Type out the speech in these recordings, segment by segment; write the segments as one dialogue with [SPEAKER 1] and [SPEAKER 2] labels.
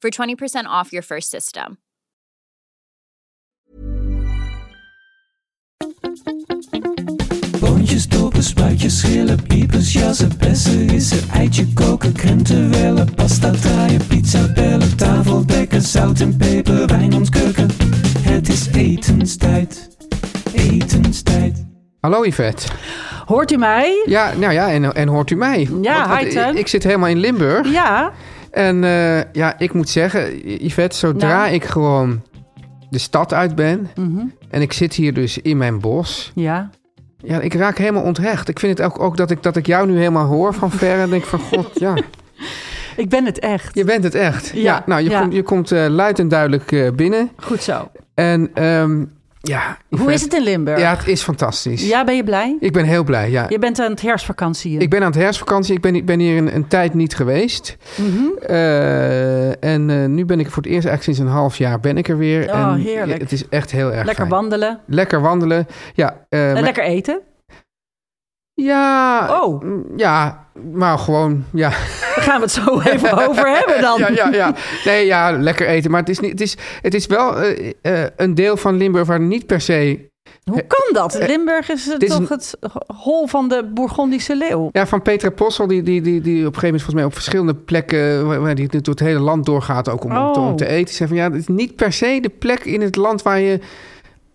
[SPEAKER 1] for 20% off your first system.
[SPEAKER 2] Boontjes, dopen, spruitjes, schillen, piepers, jassen, bessen, rissen, eitje koken, krenten wellen, pasta draaien, pizza bellen, tafel dekken, zout en peper, wijn ontkurken. Het is etenstijd, etenstijd.
[SPEAKER 3] Hallo Yvette.
[SPEAKER 4] Hoort u mij?
[SPEAKER 3] Ja, nou ja, en, en hoort u mij?
[SPEAKER 4] Ja, hi,
[SPEAKER 3] ik-
[SPEAKER 4] Teun.
[SPEAKER 3] Ik zit helemaal in Limburg.
[SPEAKER 4] Ja.
[SPEAKER 3] En eh, ja, ik moet zeggen, I- Yvette, zodra
[SPEAKER 4] Nou.
[SPEAKER 3] ik gewoon de stad uit ben
[SPEAKER 4] Mhm.
[SPEAKER 3] en ik zit hier dus in mijn bos,
[SPEAKER 4] Ja.
[SPEAKER 3] ja, ik raak helemaal onthecht. Ik vind het ook, ook dat, ik, dat ik jou nu helemaal hoor van ver en denk van, god, ja,
[SPEAKER 4] Ik ben het echt.
[SPEAKER 3] je bent het echt.
[SPEAKER 4] Ja,
[SPEAKER 3] nou, je
[SPEAKER 4] ja.
[SPEAKER 3] komt, je komt eh, luid en duidelijk eh, binnen.
[SPEAKER 4] Goed zo.
[SPEAKER 3] En ehm, ja,
[SPEAKER 4] Hoe is het in Limburg?
[SPEAKER 3] Ja, het is fantastisch.
[SPEAKER 4] Ja, ben je blij?
[SPEAKER 3] Ik ben heel blij, ja.
[SPEAKER 4] Je bent aan het herfstvakantie.
[SPEAKER 3] Ik ben aan het herfstvakantie. Ik ben, ik ben hier een, een tijd niet geweest.
[SPEAKER 4] Mhm.
[SPEAKER 3] Eh, en eh, nu ben ik voor het eerst, eigenlijk sinds een half jaar, ben ik er weer.
[SPEAKER 4] Oh,
[SPEAKER 3] en
[SPEAKER 4] heerlijk.
[SPEAKER 3] Het is echt heel erg
[SPEAKER 4] Lekker
[SPEAKER 3] fijn.
[SPEAKER 4] wandelen.
[SPEAKER 3] Lekker wandelen. Ja, eh,
[SPEAKER 4] En
[SPEAKER 3] maar-
[SPEAKER 4] lekker eten.
[SPEAKER 3] ja,
[SPEAKER 4] Oh.
[SPEAKER 3] mm, ja, maar gewoon, ja.
[SPEAKER 4] Daar gaan we het zo even over hebben dan.
[SPEAKER 3] Ja, ja, ja. Nee, ja, lekker eten. Maar het is, niet, het is, het is wel eh, eh, een deel van Limburg waar niet per se...
[SPEAKER 4] Hoe kan dat? Limburg is eh,
[SPEAKER 3] dit is
[SPEAKER 4] toch
[SPEAKER 3] een-
[SPEAKER 4] het hol van de Bourgondische leeuw.
[SPEAKER 3] Ja, van Petra Possel, die, die, die, die op een gegeven moment volgens mij op verschillende plekken... waar- waar die door het hele land doorgaat ook om, om te, om te
[SPEAKER 4] Oh.
[SPEAKER 3] eten. Zei van, ja, het is niet per se de plek in het land waar je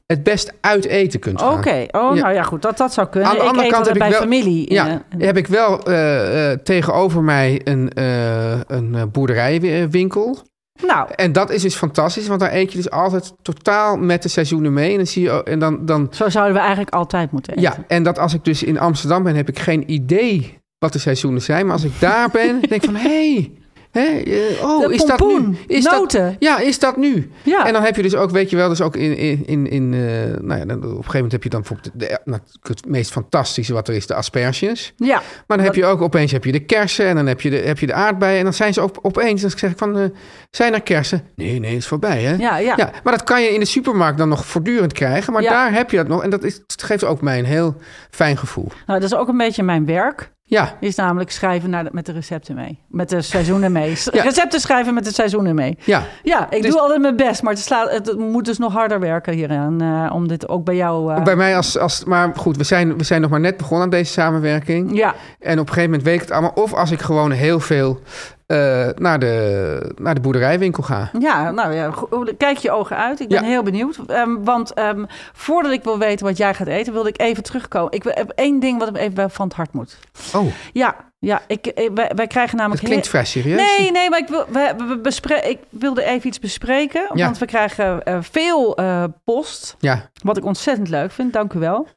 [SPEAKER 3] het best uit eten kunt gaan.
[SPEAKER 4] Oké, oh,
[SPEAKER 3] Ja.
[SPEAKER 4] nou ja, goed, dat, dat zou kunnen.
[SPEAKER 3] Aan de
[SPEAKER 4] ik
[SPEAKER 3] andere
[SPEAKER 4] eet
[SPEAKER 3] kant heb
[SPEAKER 4] altijd
[SPEAKER 3] ik
[SPEAKER 4] bij
[SPEAKER 3] wel-
[SPEAKER 4] familie.
[SPEAKER 3] Ja,
[SPEAKER 4] in, eh,
[SPEAKER 3] heb ik wel eh, eh, tegenover mij een, eh, een eh, boerderijwinkel.
[SPEAKER 4] nou,
[SPEAKER 3] En dat is dus fantastisch, want daar eet je dus altijd totaal met de seizoenen mee. En dan zie je ook- en dan, dan
[SPEAKER 4] zo zouden we eigenlijk altijd moeten eten.
[SPEAKER 3] ja, en dat als ik dus in Amsterdam ben, heb ik geen idee wat de seizoenen zijn. Maar als ik daar ben, denk ik van, hé, hey, hè, eh, oh,
[SPEAKER 4] De
[SPEAKER 3] is dat nu?
[SPEAKER 4] pompoen,
[SPEAKER 3] Is
[SPEAKER 4] noten.
[SPEAKER 3] Dat, ja, is dat nu?
[SPEAKER 4] Ja.
[SPEAKER 3] En dan heb je dus ook, weet je wel, dus ook in, in, in, in eh, nou ja, dan, op een gegeven moment heb je dan bijvoorbeeld de, de- nou, het meest fantastische wat er is, de asperges.
[SPEAKER 4] ja.
[SPEAKER 3] Maar dan heb je ook opeens heb je de kersen en dan heb je de, heb je de aardbeien. En dan zijn ze op, opeens, dan zeg ik van, eh, zijn er kersen? Nee, nee, is voorbij, hè?
[SPEAKER 4] Ja, ja.
[SPEAKER 3] maar dat kan je in de supermarkt dan nog voortdurend krijgen. Maar
[SPEAKER 4] Ja.
[SPEAKER 3] daar heb je dat nog. En dat, is, dat geeft ook mij een heel fijn gevoel.
[SPEAKER 4] Nou, dat is ook een beetje mijn werk.
[SPEAKER 3] Ja,
[SPEAKER 4] Is namelijk schrijven naar de- met de recepten mee. Met de seizoenen mee.
[SPEAKER 3] Ja.
[SPEAKER 4] Recepten schrijven met de seizoenen mee.
[SPEAKER 3] ja.
[SPEAKER 4] Ja, ik
[SPEAKER 3] Dus-
[SPEAKER 4] doe altijd mijn best, maar het, slaat, het moet dus nog harder werken hieraan. eh, om dit ook bij jou. eh,
[SPEAKER 3] Bij mij als, als... Maar goed, we zijn, we zijn nog maar net begonnen aan deze samenwerking.
[SPEAKER 4] Ja,
[SPEAKER 3] En op een gegeven moment weet ik het allemaal. Of als ik gewoon heel veel eh, naar, de, naar de boerderijwinkel ga.
[SPEAKER 4] ja, nou ja, go- kijk je ogen uit. Ik ben
[SPEAKER 3] Ja.
[SPEAKER 4] heel benieuwd. Ehm, want ehm, voordat ik wil weten wat jij gaat eten, wilde ik even terugkomen. Ik wil- heb één ding wat me even bij- van het hart moet.
[SPEAKER 3] Oh,
[SPEAKER 4] Ja, ja ik, eh, wij, wij krijgen
[SPEAKER 3] dat
[SPEAKER 4] namelijk...
[SPEAKER 3] klinkt
[SPEAKER 4] heel-
[SPEAKER 3] vrij serieus.
[SPEAKER 4] Nee, nee, maar ik, wil, we, we- we bespre- ik wilde even iets bespreken.
[SPEAKER 3] Ja.
[SPEAKER 4] Want we krijgen eh, veel eh, post.
[SPEAKER 3] Ja,
[SPEAKER 4] Wat ik ontzettend leuk vind, dank u wel.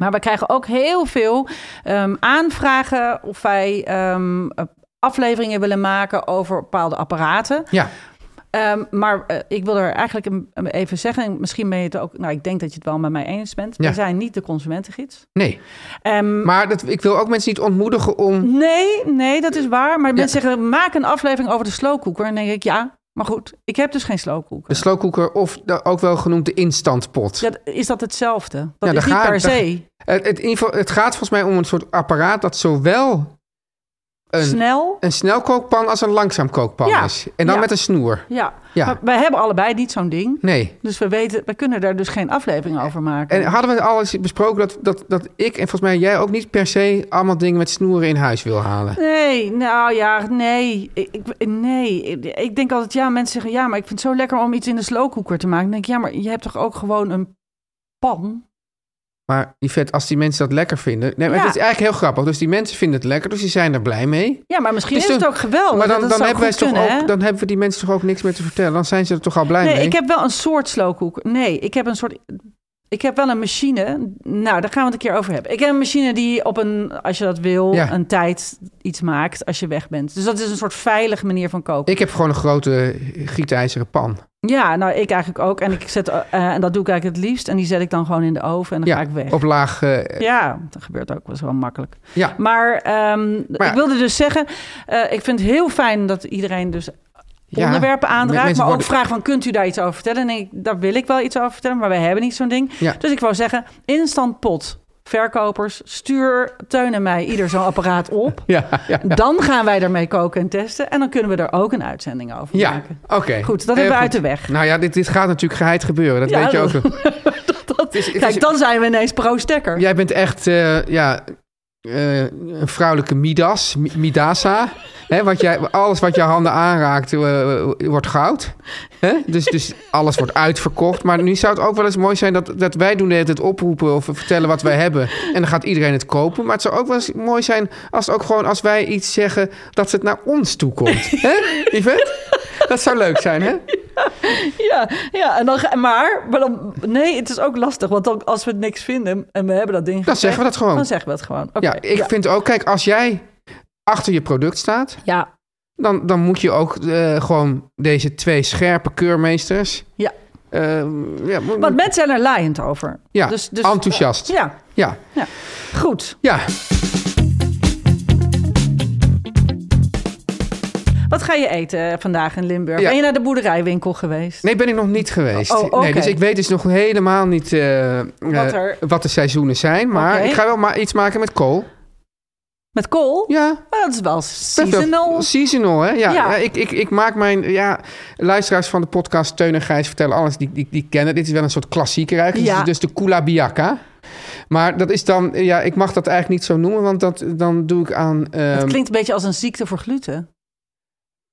[SPEAKER 4] Maar we krijgen ook heel veel ehm, aanvragen of wij ehm, afleveringen willen maken over bepaalde apparaten.
[SPEAKER 3] ja.
[SPEAKER 4] Ehm, maar eh, ik wil er eigenlijk een- een even zeggen, en misschien ben je het ook, nou ik denk dat je het wel met mij eens bent.
[SPEAKER 3] Ja.
[SPEAKER 4] We zijn niet de consumentengids.
[SPEAKER 3] Nee.
[SPEAKER 4] Ehm,
[SPEAKER 3] Maar dat, ik wil ook mensen niet ontmoedigen om...
[SPEAKER 4] Nee, nee, dat is waar. Maar mensen zeggen, maak een aflevering over de slowcooker. En dan denk ik, ja, maar goed, ik heb dus geen
[SPEAKER 3] De
[SPEAKER 4] slowcooker.
[SPEAKER 3] slowcooker of de- ook wel genoemd de instantpot.
[SPEAKER 4] Ja, is dat hetzelfde? Dat
[SPEAKER 3] Ja,
[SPEAKER 4] is
[SPEAKER 3] daar
[SPEAKER 4] niet
[SPEAKER 3] ga-
[SPEAKER 4] per
[SPEAKER 3] daar-
[SPEAKER 4] se.
[SPEAKER 3] Het, het, in ieder geval- het gaat volgens mij om een soort apparaat dat zowel een,
[SPEAKER 4] snel.
[SPEAKER 3] een snelkookpan als een langzaamkookpan
[SPEAKER 4] Ja,
[SPEAKER 3] is. En dan
[SPEAKER 4] ja.
[SPEAKER 3] met een snoer.
[SPEAKER 4] Ja.
[SPEAKER 3] Ja.
[SPEAKER 4] Maar wij hebben allebei niet zo'n ding.
[SPEAKER 3] Nee.
[SPEAKER 4] Dus we, weten, we kunnen daar dus geen aflevering over maken.
[SPEAKER 3] En hadden we alles besproken dat, dat, dat ik en volgens mij jij ook niet per se allemaal dingen met snoeren in huis wil halen?
[SPEAKER 4] Nee, nou ja, nee. Ik, ik- nee. Ik, ik denk altijd, ja, mensen zeggen... ja, maar ik vind het zo lekker om iets in de slowcooker te maken. Dan denk ik, ja, maar je hebt toch ook gewoon een pan?
[SPEAKER 3] Maar die vet, als die mensen dat lekker vinden. Nee, maar
[SPEAKER 4] Ja.
[SPEAKER 3] het is eigenlijk heel grappig. Dus die mensen vinden het lekker, dus die zijn er blij mee.
[SPEAKER 4] Ja, Oh, maar misschien
[SPEAKER 3] Dus
[SPEAKER 4] is het
[SPEAKER 3] dan-
[SPEAKER 4] ook geweldig.
[SPEAKER 3] maar dan,
[SPEAKER 4] dat
[SPEAKER 3] dan,
[SPEAKER 4] zou
[SPEAKER 3] hebben wij
[SPEAKER 4] goed
[SPEAKER 3] toch
[SPEAKER 4] kunnen, hè?
[SPEAKER 3] ook, dan hebben we die mensen toch ook niks meer te vertellen. Dan zijn ze er toch al blij
[SPEAKER 4] Nee,
[SPEAKER 3] mee.
[SPEAKER 4] ik heb wel een soort slowcooker. Nee, ik heb een soort... Ik heb wel een machine. Nou, daar gaan we het een keer over hebben. Ik heb een machine die op een, als je dat wil,
[SPEAKER 3] Ja.
[SPEAKER 4] een tijd iets maakt als je weg bent. Dus dat is een soort veilige manier van koken.
[SPEAKER 3] Ik heb gewoon een grote eh, gietijzeren pan.
[SPEAKER 4] Ja, nou, ik eigenlijk ook. En, ik zet, eh, en dat doe ik eigenlijk het liefst. En die zet ik dan gewoon in de oven en dan
[SPEAKER 3] ja,
[SPEAKER 4] ga ik weg.
[SPEAKER 3] op laag. eh,
[SPEAKER 4] Ja, dat gebeurt ook. Dat is wel makkelijk.
[SPEAKER 3] ja.
[SPEAKER 4] Maar, ehm,
[SPEAKER 3] ja.
[SPEAKER 4] ik wilde dus zeggen, eh, ik vind het heel fijn dat iedereen dus
[SPEAKER 3] Ja,
[SPEAKER 4] onderwerpen
[SPEAKER 3] met
[SPEAKER 4] aandraagt.
[SPEAKER 3] mensen
[SPEAKER 4] Maar ook
[SPEAKER 3] worden-
[SPEAKER 4] vraagt van, kunt u daar iets over vertellen? En ik, daar wil ik wel iets over vertellen, maar wij hebben niet zo'n ding.
[SPEAKER 3] Ja.
[SPEAKER 4] Dus ik wou zeggen, instant pot. Verkopers, stuur Teun en mij ieder zo'n apparaat op.
[SPEAKER 3] Ja, ja, ja.
[SPEAKER 4] Dan gaan wij daarmee koken en testen. En dan kunnen we daar ook een uitzending over
[SPEAKER 3] Ja,
[SPEAKER 4] maken.
[SPEAKER 3] oké.
[SPEAKER 4] Goed,
[SPEAKER 3] Heel
[SPEAKER 4] dat hebben we uit
[SPEAKER 3] goed.
[SPEAKER 4] de weg.
[SPEAKER 3] Nou ja, dit, dit gaat natuurlijk geheid gebeuren. Dat
[SPEAKER 4] Ja,
[SPEAKER 3] weet je ook.
[SPEAKER 4] dat-
[SPEAKER 3] wel.
[SPEAKER 4] Dat,
[SPEAKER 3] is- het
[SPEAKER 4] kijk,
[SPEAKER 3] is-
[SPEAKER 4] dan zijn we ineens pro-stekker.
[SPEAKER 3] Jij bent echt eh, ja, eh, een vrouwelijke Midas, Mi- Midasa. Hè, wat jij, alles wat jouw handen aanraakt, eh, wordt goud. Hè? Dus, dus alles wordt uitverkocht. Maar nu zou het ook wel eens mooi zijn dat, dat wij doen de hele tijd oproepen of vertellen wat wij hebben. En dan gaat iedereen het kopen. Maar het zou ook wel eens mooi zijn als, het ook gewoon, als wij iets zeggen dat het naar ons toe komt. Hè, Yvette? Dat zou leuk zijn, hè?
[SPEAKER 4] Ja, ja en dan, ga- maar, maar dan, nee, het is ook lastig. Want dan, als we niks vinden en we hebben dat ding
[SPEAKER 3] Dan zeggen we dat gewoon.
[SPEAKER 4] Dan zeggen we het gewoon. Oké,
[SPEAKER 3] Ja, ik
[SPEAKER 4] ja.
[SPEAKER 3] vind ook, kijk, als jij achter je product staat,
[SPEAKER 4] Ja,
[SPEAKER 3] dan, dan moet je ook eh, gewoon deze twee scherpe keurmeesters.
[SPEAKER 4] Ja.
[SPEAKER 3] Eh, ja, mo-
[SPEAKER 4] want mensen zijn er laaiend over.
[SPEAKER 3] ja
[SPEAKER 4] dus- dus-
[SPEAKER 3] enthousiast. ja.
[SPEAKER 4] Ja,
[SPEAKER 3] Ja.
[SPEAKER 4] goed. Wat ga je eten eh, vandaag in Limburg?
[SPEAKER 3] Ja.
[SPEAKER 4] Ben je naar de boerderijwinkel geweest?
[SPEAKER 3] Nee, ben ik nog niet geweest.
[SPEAKER 4] Oh, oké.
[SPEAKER 3] nee, dus ik weet dus nog helemaal niet eh, eh,
[SPEAKER 4] Wat
[SPEAKER 3] wat,
[SPEAKER 4] er-
[SPEAKER 3] de seizoenen zijn. Maar
[SPEAKER 4] Oké.
[SPEAKER 3] ik ga wel maar iets maken met kool.
[SPEAKER 4] Met kool?
[SPEAKER 3] Ja. Dus,
[SPEAKER 4] Maar dat is wel
[SPEAKER 3] best wel-
[SPEAKER 4] seasonal.
[SPEAKER 3] Seasonal, hè? Ja.
[SPEAKER 4] Ja.
[SPEAKER 3] ja, ik, ik, ik maak mijn... Ja, luisteraars van de podcast Teun en Gijs vertellen alles. Die, die, die kennen. Dit is wel een soort klassieker eigenlijk.
[SPEAKER 4] Ja.
[SPEAKER 3] Dus, dus de Kula Biaka. Maar dat is dan... Ja, ik mag dat eigenlijk niet zo noemen. Want dat, dan doe ik aan... ehm,
[SPEAKER 4] Het klinkt een beetje als een ziekte voor gluten.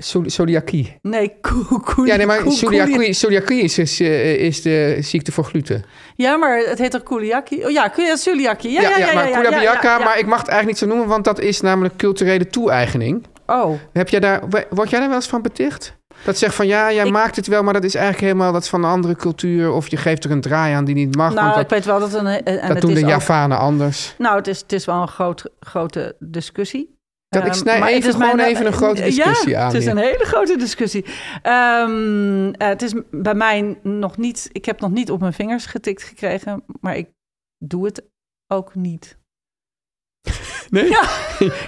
[SPEAKER 3] Cel- Celiakie.
[SPEAKER 4] Nee, koe, koe,
[SPEAKER 3] Ja, nee, maar
[SPEAKER 4] koe- koe-
[SPEAKER 3] celiakie, celiakie is, is, eh, is de ziekte voor gluten.
[SPEAKER 4] Ja, maar het heet toch kuliaki? Oh ja, ku- ja, suliaki. Ja, ja, ja. ja,
[SPEAKER 3] maar
[SPEAKER 4] ja, ja,
[SPEAKER 3] koelabiaka,
[SPEAKER 4] ja, ja.
[SPEAKER 3] maar ik mag het eigenlijk niet zo noemen, want dat is namelijk culturele toe-eigening.
[SPEAKER 4] Oh,
[SPEAKER 3] Heb jij daar, we- word jij daar wel eens van beticht? Dat zegt van ja, jij
[SPEAKER 4] Ik-
[SPEAKER 3] maakt het wel, maar dat is eigenlijk helemaal dat is van een andere cultuur. Of je geeft er een draai aan die niet mag. want
[SPEAKER 4] nou, ik
[SPEAKER 3] dat,
[SPEAKER 4] weet wel dat een... En en
[SPEAKER 3] dat
[SPEAKER 4] het
[SPEAKER 3] doen
[SPEAKER 4] is
[SPEAKER 3] de
[SPEAKER 4] ook-
[SPEAKER 3] Javanen anders.
[SPEAKER 4] Nou, het is, het is wel een groot, grote discussie.
[SPEAKER 3] Dat, ik
[SPEAKER 4] Ehm,
[SPEAKER 3] snij
[SPEAKER 4] maar het
[SPEAKER 3] even
[SPEAKER 4] is
[SPEAKER 3] gewoon
[SPEAKER 4] mijn-
[SPEAKER 3] even een grote discussie
[SPEAKER 4] ja,
[SPEAKER 3] aan.
[SPEAKER 4] Het is
[SPEAKER 3] hier.
[SPEAKER 4] een hele grote discussie. Ehm, eh, het is bij mij nog niet. Ik heb nog niet op mijn vingers getikt gekregen, maar ik doe het ook niet.
[SPEAKER 3] Nee?
[SPEAKER 4] Ja,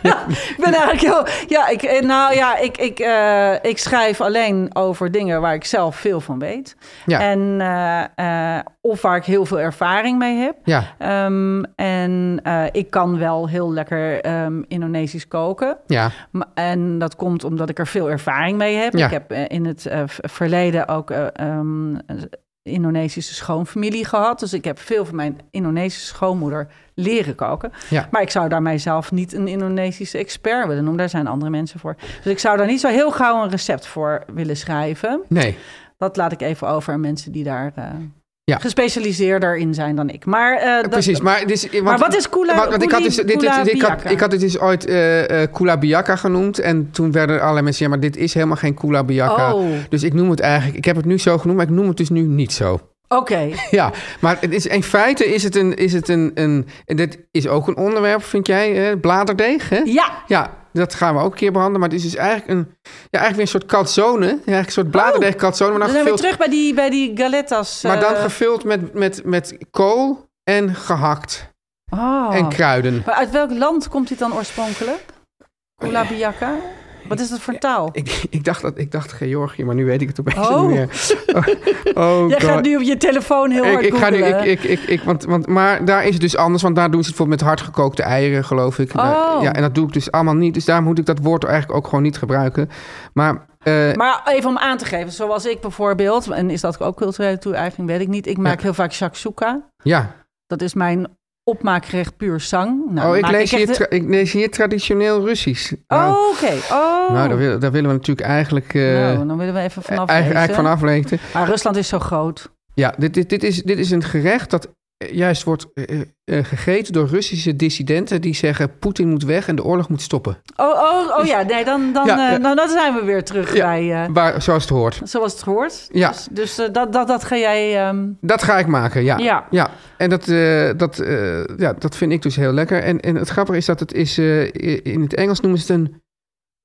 [SPEAKER 4] ja, ik ben eigenlijk heel. Ja, ik, eh, nou ja, ik, ik, eh, ik schrijf alleen over dingen waar ik zelf veel van weet.
[SPEAKER 3] Ja.
[SPEAKER 4] En, eh, eh, of waar ik heel veel ervaring mee heb.
[SPEAKER 3] Ja,
[SPEAKER 4] Ehm, en eh, ik kan wel heel lekker ehm, Indonesisch koken.
[SPEAKER 3] ja,
[SPEAKER 4] Ma- En dat komt omdat ik er veel ervaring mee heb.
[SPEAKER 3] Ja.
[SPEAKER 4] Ik heb eh, in het eh, v- verleden ook eh, ehm, een Indonesische schoonfamilie gehad. Dus ik heb veel van mijn Indonesische schoonmoeder leren koken.
[SPEAKER 3] Ja.
[SPEAKER 4] Maar ik zou daar mijzelf niet een Indonesische expert willen noemen. Daar zijn andere mensen voor. Dus ik zou daar niet zo heel gauw een recept voor willen schrijven.
[SPEAKER 3] nee.
[SPEAKER 4] Dat laat ik even over aan mensen die daar eh,
[SPEAKER 3] Ja.
[SPEAKER 4] gespecialiseerder in zijn dan ik. Maar, eh, dat-
[SPEAKER 3] Precies, maar, het is, want,
[SPEAKER 4] Maar wat is Kula-
[SPEAKER 3] want- want ik, had dus, dit, dit- dit- ik,
[SPEAKER 4] Kulabiaka?
[SPEAKER 3] had, ik had het dus ooit eh eh, Kulabiaka genoemd. En toen werden allerlei mensen... Ja, maar dit is helemaal geen Kulabiaka.
[SPEAKER 4] Oh.
[SPEAKER 3] Dus ik noem het eigenlijk... Ik heb het nu zo genoemd, maar ik noem het dus nu niet zo.
[SPEAKER 4] Oké,
[SPEAKER 3] Ja, maar het is, in feite is het een... Is het een, een en dit is ook een onderwerp, vind jij? eh bladerdeeg, hè?
[SPEAKER 4] ja.
[SPEAKER 3] Ja, dat gaan we ook een keer behandelen. Maar het is dus eigenlijk een... Ja, eigenlijk weer een soort calzone. Ja, eigenlijk een soort bladerdeeg calzone. Maar
[SPEAKER 4] Oh, Dan
[SPEAKER 3] dan
[SPEAKER 4] zijn we weer
[SPEAKER 3] gevuld,
[SPEAKER 4] terug bij die, bij die galettas.
[SPEAKER 3] maar dan
[SPEAKER 4] eh,
[SPEAKER 3] gevuld met, met, met kool en gehakt.
[SPEAKER 4] oh.
[SPEAKER 3] En kruiden.
[SPEAKER 4] Maar uit welk land komt dit dan oorspronkelijk? Kulabiaka? Wat is dat voor taal?
[SPEAKER 3] Ik, ik, dacht dat, ik dacht Georgië, maar nu weet ik het opeens
[SPEAKER 4] Oh.
[SPEAKER 3] niet meer. Oh, oh
[SPEAKER 4] Jij
[SPEAKER 3] God.
[SPEAKER 4] gaat nu op je telefoon heel
[SPEAKER 3] ik,
[SPEAKER 4] hard
[SPEAKER 3] ik ga nu, ik,
[SPEAKER 4] googlen.
[SPEAKER 3] ik, ik, ik- want, want, maar daar is het dus anders, want daar doen ze het bijvoorbeeld met hardgekookte eieren, geloof ik.
[SPEAKER 4] Oh.
[SPEAKER 3] Ja, en dat doe ik dus allemaal niet. Dus daar moet ik dat woord eigenlijk ook gewoon niet gebruiken. Maar, eh,
[SPEAKER 4] Maar even om aan te geven, zoals ik bijvoorbeeld, en is dat ook culturele toe-eigening, weet ik niet. Ik maak
[SPEAKER 3] Ja.
[SPEAKER 4] heel vaak shakshuka.
[SPEAKER 3] ja,
[SPEAKER 4] Dat is mijn opmaakgerecht puur sang. Nou,
[SPEAKER 3] oh, ik
[SPEAKER 4] maak
[SPEAKER 3] lees, hier
[SPEAKER 4] echt-
[SPEAKER 3] tra- ik lees hier traditioneel Russisch. Nou,
[SPEAKER 4] Oh, oké. Oh.
[SPEAKER 3] nou daar, wil- daar willen we natuurlijk eigenlijk, eh,
[SPEAKER 4] Nou, dan willen we even vanaf
[SPEAKER 3] eigenlijk, eigenlijk
[SPEAKER 4] lezen.
[SPEAKER 3] van aflezen.
[SPEAKER 4] Maar Rusland is zo groot.
[SPEAKER 3] Ja, dit, dit, dit, is, dit is een gerecht dat eh, juist wordt eh, eh, gegeten door Russische dissidenten die zeggen Poetin moet weg en de oorlog moet stoppen.
[SPEAKER 4] Oh, oh, oh ja, nee, dan, dan,
[SPEAKER 3] Ja,
[SPEAKER 4] eh,
[SPEAKER 3] ja.
[SPEAKER 4] dan, dan zijn we weer terug
[SPEAKER 3] Ja.
[SPEAKER 4] bij, eh,
[SPEAKER 3] Waar, zoals het hoort.
[SPEAKER 4] zoals het hoort.
[SPEAKER 3] Ja.
[SPEAKER 4] Dus, dus eh, dat, dat, dat ga jij... ehm,
[SPEAKER 3] Dat ga ik maken, ja.
[SPEAKER 4] Ja.
[SPEAKER 3] En dat, eh, dat, eh, ja, dat vind ik dus heel lekker. En, en het grappige is dat het is, eh, in het Engels noemen ze het een,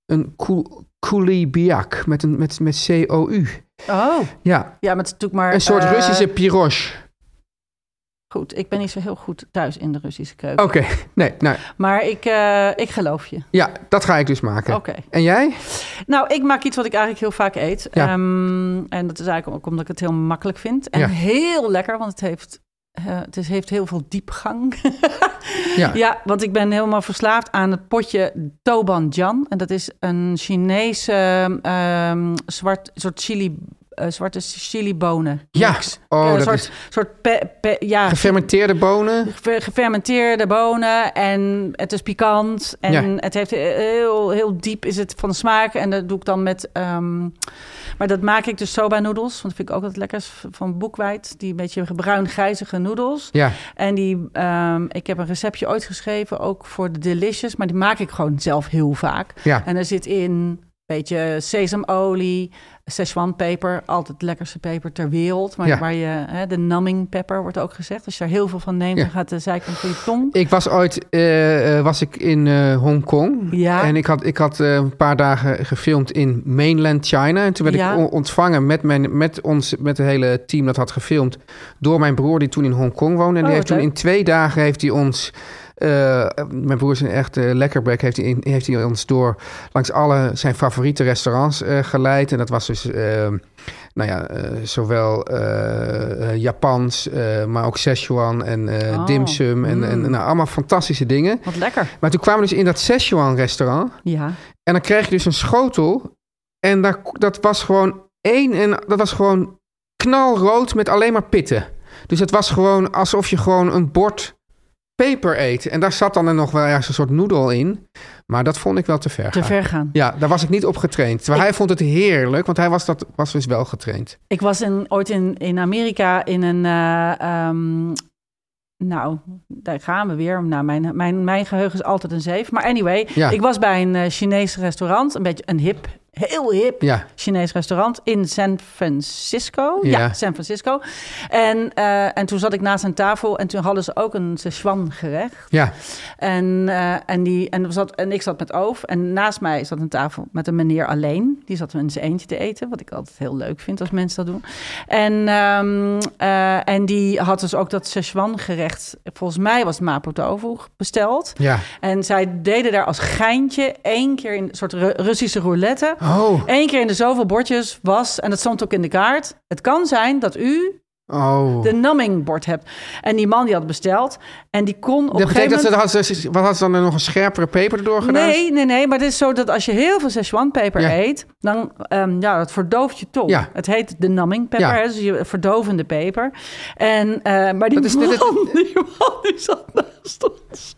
[SPEAKER 3] een koe- koelibiak met, een, met, met C-O-U.
[SPEAKER 4] Oh,
[SPEAKER 3] Ja,
[SPEAKER 4] ja, maar het is natuurlijk maar...
[SPEAKER 3] een soort
[SPEAKER 4] eh,
[SPEAKER 3] Russische piroche.
[SPEAKER 4] Goed, ik ben niet zo heel goed thuis in de Russische keuken.
[SPEAKER 3] Oké, nee, nou
[SPEAKER 4] Maar ik, eh, ik geloof je.
[SPEAKER 3] ja, dat ga ik dus maken.
[SPEAKER 4] Oké.
[SPEAKER 3] En jij?
[SPEAKER 4] Nou, ik maak iets wat ik eigenlijk heel vaak eet.
[SPEAKER 3] Ja.
[SPEAKER 4] Ehm, en dat is eigenlijk ook omdat ik het heel makkelijk vind. En
[SPEAKER 3] Ja.
[SPEAKER 4] heel lekker, want het heeft, eh, het is, heeft heel veel diepgang.
[SPEAKER 3] Ja.
[SPEAKER 4] Ja, want ik ben helemaal verslaafd aan het potje Tobanjan. En dat is een Chinese ehm, zwart, soort chili, eh, zwarte chilibonen.
[SPEAKER 3] Ja.
[SPEAKER 4] mix.
[SPEAKER 3] Oh,
[SPEAKER 4] Eh, een
[SPEAKER 3] dat
[SPEAKER 4] soort,
[SPEAKER 3] is-
[SPEAKER 4] soort pe- pe- ja,
[SPEAKER 3] Gefermenteerde bonen?
[SPEAKER 4] ge- gefermenteerde bonen en het is pikant en
[SPEAKER 3] Ja.
[SPEAKER 4] het heeft heel, heel diep is het van smaak en dat doe ik dan met ehm, maar dat maak ik dus soba noedels want dat vind ik ook wat lekkers van boekwijd die een beetje bruin grijzige noedels
[SPEAKER 3] Ja.
[SPEAKER 4] en die ehm, ik heb een receptje ooit geschreven ook voor de delicious maar die maak ik gewoon zelf heel vaak
[SPEAKER 3] Ja.
[SPEAKER 4] en er zit in beetje sesamolie, Szechuanpeper, altijd de lekkerste peper ter wereld. Maar
[SPEAKER 3] Ja.
[SPEAKER 4] waar je, hè, de numbing pepper wordt ook gezegd. Als je daar heel veel van neemt,
[SPEAKER 3] Ja.
[SPEAKER 4] dan gaat de zijkant van je tong.
[SPEAKER 3] Ik was ooit eh, eh, was ik in eh, Hongkong.
[SPEAKER 4] Ja.
[SPEAKER 3] En ik had, ik had eh, een paar dagen gefilmd in mainland China. En toen werd
[SPEAKER 4] Ja.
[SPEAKER 3] ik on- ontvangen met, mijn, met ons, met het hele team dat had gefilmd. Door mijn broer die toen in Hongkong woonde. En
[SPEAKER 4] Oh,
[SPEAKER 3] die heeft
[SPEAKER 4] wat
[SPEAKER 3] toen
[SPEAKER 4] leuk.
[SPEAKER 3] in twee dagen heeft hij ons. eh, mijn broer is een echte lekkerbek. Heeft hij, in- heeft hij ons door langs alle zijn favoriete restaurants eh, geleid. En dat was dus. eh, nou ja, eh, zowel eh, eh, Japans, eh, maar ook Szechuan en eh
[SPEAKER 4] Oh,
[SPEAKER 3] dim sum en, en nou, allemaal fantastische dingen.
[SPEAKER 4] Wat lekker.
[SPEAKER 3] Maar toen kwamen we dus in dat Szechuan restaurant
[SPEAKER 4] Ja.
[SPEAKER 3] en dan kreeg je dus een schotel en daar, dat was gewoon één en dat was gewoon knalrood met alleen maar pitten. Dus het was gewoon alsof je gewoon een bord peper eet. En daar zat dan er nog wel ergens een soort noedel in. Maar dat vond ik wel te ver.
[SPEAKER 4] Te
[SPEAKER 3] gaan.
[SPEAKER 4] ver gaan.
[SPEAKER 3] Ja, daar was ik niet op getraind. Terwijl hij vond het heerlijk, want hij was, dat, was dus wel getraind.
[SPEAKER 4] Ik was in, ooit in, in Amerika in een... eh, ehm, nou, daar gaan we weer. Nou, mijn, mijn, mijn geheugen is altijd een zeef. Maar anyway,
[SPEAKER 3] Ja.
[SPEAKER 4] ik was bij een eh, Chinees restaurant. Een beetje een hip, heel hip
[SPEAKER 3] Ja,
[SPEAKER 4] Chinees restaurant in San Francisco. Ja,
[SPEAKER 3] Ja.
[SPEAKER 4] San Francisco. En, eh, en toen zat ik naast een tafel en toen hadden ze ook een Szechuan gerecht.
[SPEAKER 3] ja.
[SPEAKER 4] En, eh, en, die, en, er zat, en ik zat met Oof en naast mij zat een tafel met een meneer alleen. Die zat in zijn eentje te eten, wat ik altijd heel leuk vind als mensen dat doen. En, ehm, eh, en die had dus ook dat Szechuan gerecht, volgens mij was het mapo tofu besteld.
[SPEAKER 3] Ja.
[SPEAKER 4] En zij deden daar als geintje één keer in een soort Ru- Russische roulette.
[SPEAKER 3] Oh.
[SPEAKER 4] Eén keer in de zoveel bordjes was, en dat stond ook in de kaart. Het kan zijn dat u
[SPEAKER 3] Oh.
[SPEAKER 4] de nammingbord hebt. En die man die had besteld. En die kon op
[SPEAKER 3] dat
[SPEAKER 4] een gegeven
[SPEAKER 3] betekent dat
[SPEAKER 4] moment...
[SPEAKER 3] ze, had, ze, wat had ze dan er nog een scherpere peper erdoor gedaan?
[SPEAKER 4] Nee, nee, nee. Maar het is zo dat als je heel veel Szechuanpeper
[SPEAKER 3] Ja.
[SPEAKER 4] eet... dan ehm, ja, dat verdooft je tong.
[SPEAKER 3] Ja.
[SPEAKER 4] Het heet de numbing pepper,
[SPEAKER 3] Ja.
[SPEAKER 4] hè, dus je verdovende peper. En, eh, maar die
[SPEAKER 3] Dat is
[SPEAKER 4] man,
[SPEAKER 3] net het-
[SPEAKER 4] die man die zat naast ons.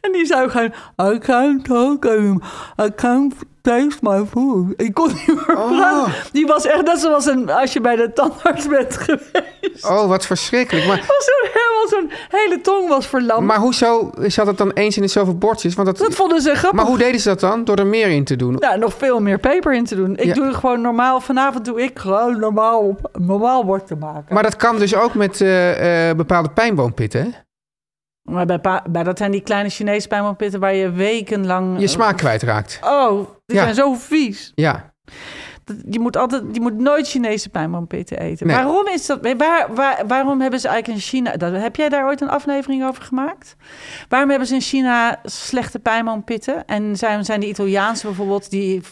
[SPEAKER 4] En die zei gewoon... I can't talk anymore. I can't taste my food. Ik kon niet meer
[SPEAKER 3] Oh.
[SPEAKER 4] praten. Die was echt net zoals een, als je bij de tandarts bent geweest.
[SPEAKER 3] Oh, wat verschrikkelijk. Maar,
[SPEAKER 4] Was zo helemaal zo'n hele tong was verlamd.
[SPEAKER 3] maar hoezo zat het dan eens in de zoveel bordjes? Want dat,
[SPEAKER 4] dat vonden ze grappig.
[SPEAKER 3] maar hoe deden ze dat dan? Door er meer in te doen?
[SPEAKER 4] Nou, nog veel meer peper in te doen. Ik
[SPEAKER 3] Ja.
[SPEAKER 4] doe gewoon normaal. Vanavond doe ik gewoon normaal, op- normaal bord te maken.
[SPEAKER 3] Maar dat kan dus ook met eh, eh, bepaalde pijnboompitten, hè?
[SPEAKER 4] Maar bij, pa- bij dat zijn die kleine Chinese pijnmanpitten waar je wekenlang...
[SPEAKER 3] Je smaak kwijtraakt.
[SPEAKER 4] Oh, die
[SPEAKER 3] Ja.
[SPEAKER 4] zijn zo vies.
[SPEAKER 3] Ja.
[SPEAKER 4] Je moet, altijd, je moet nooit Chinese pijnboompitten eten.
[SPEAKER 3] Nee.
[SPEAKER 4] Waarom is dat? Waar, waar, waarom hebben ze eigenlijk in China... Dat, heb jij daar ooit een aflevering over gemaakt? Waarom hebben ze in China slechte pijnboompitten? En zijn, zijn de Italiaanse bijvoorbeeld die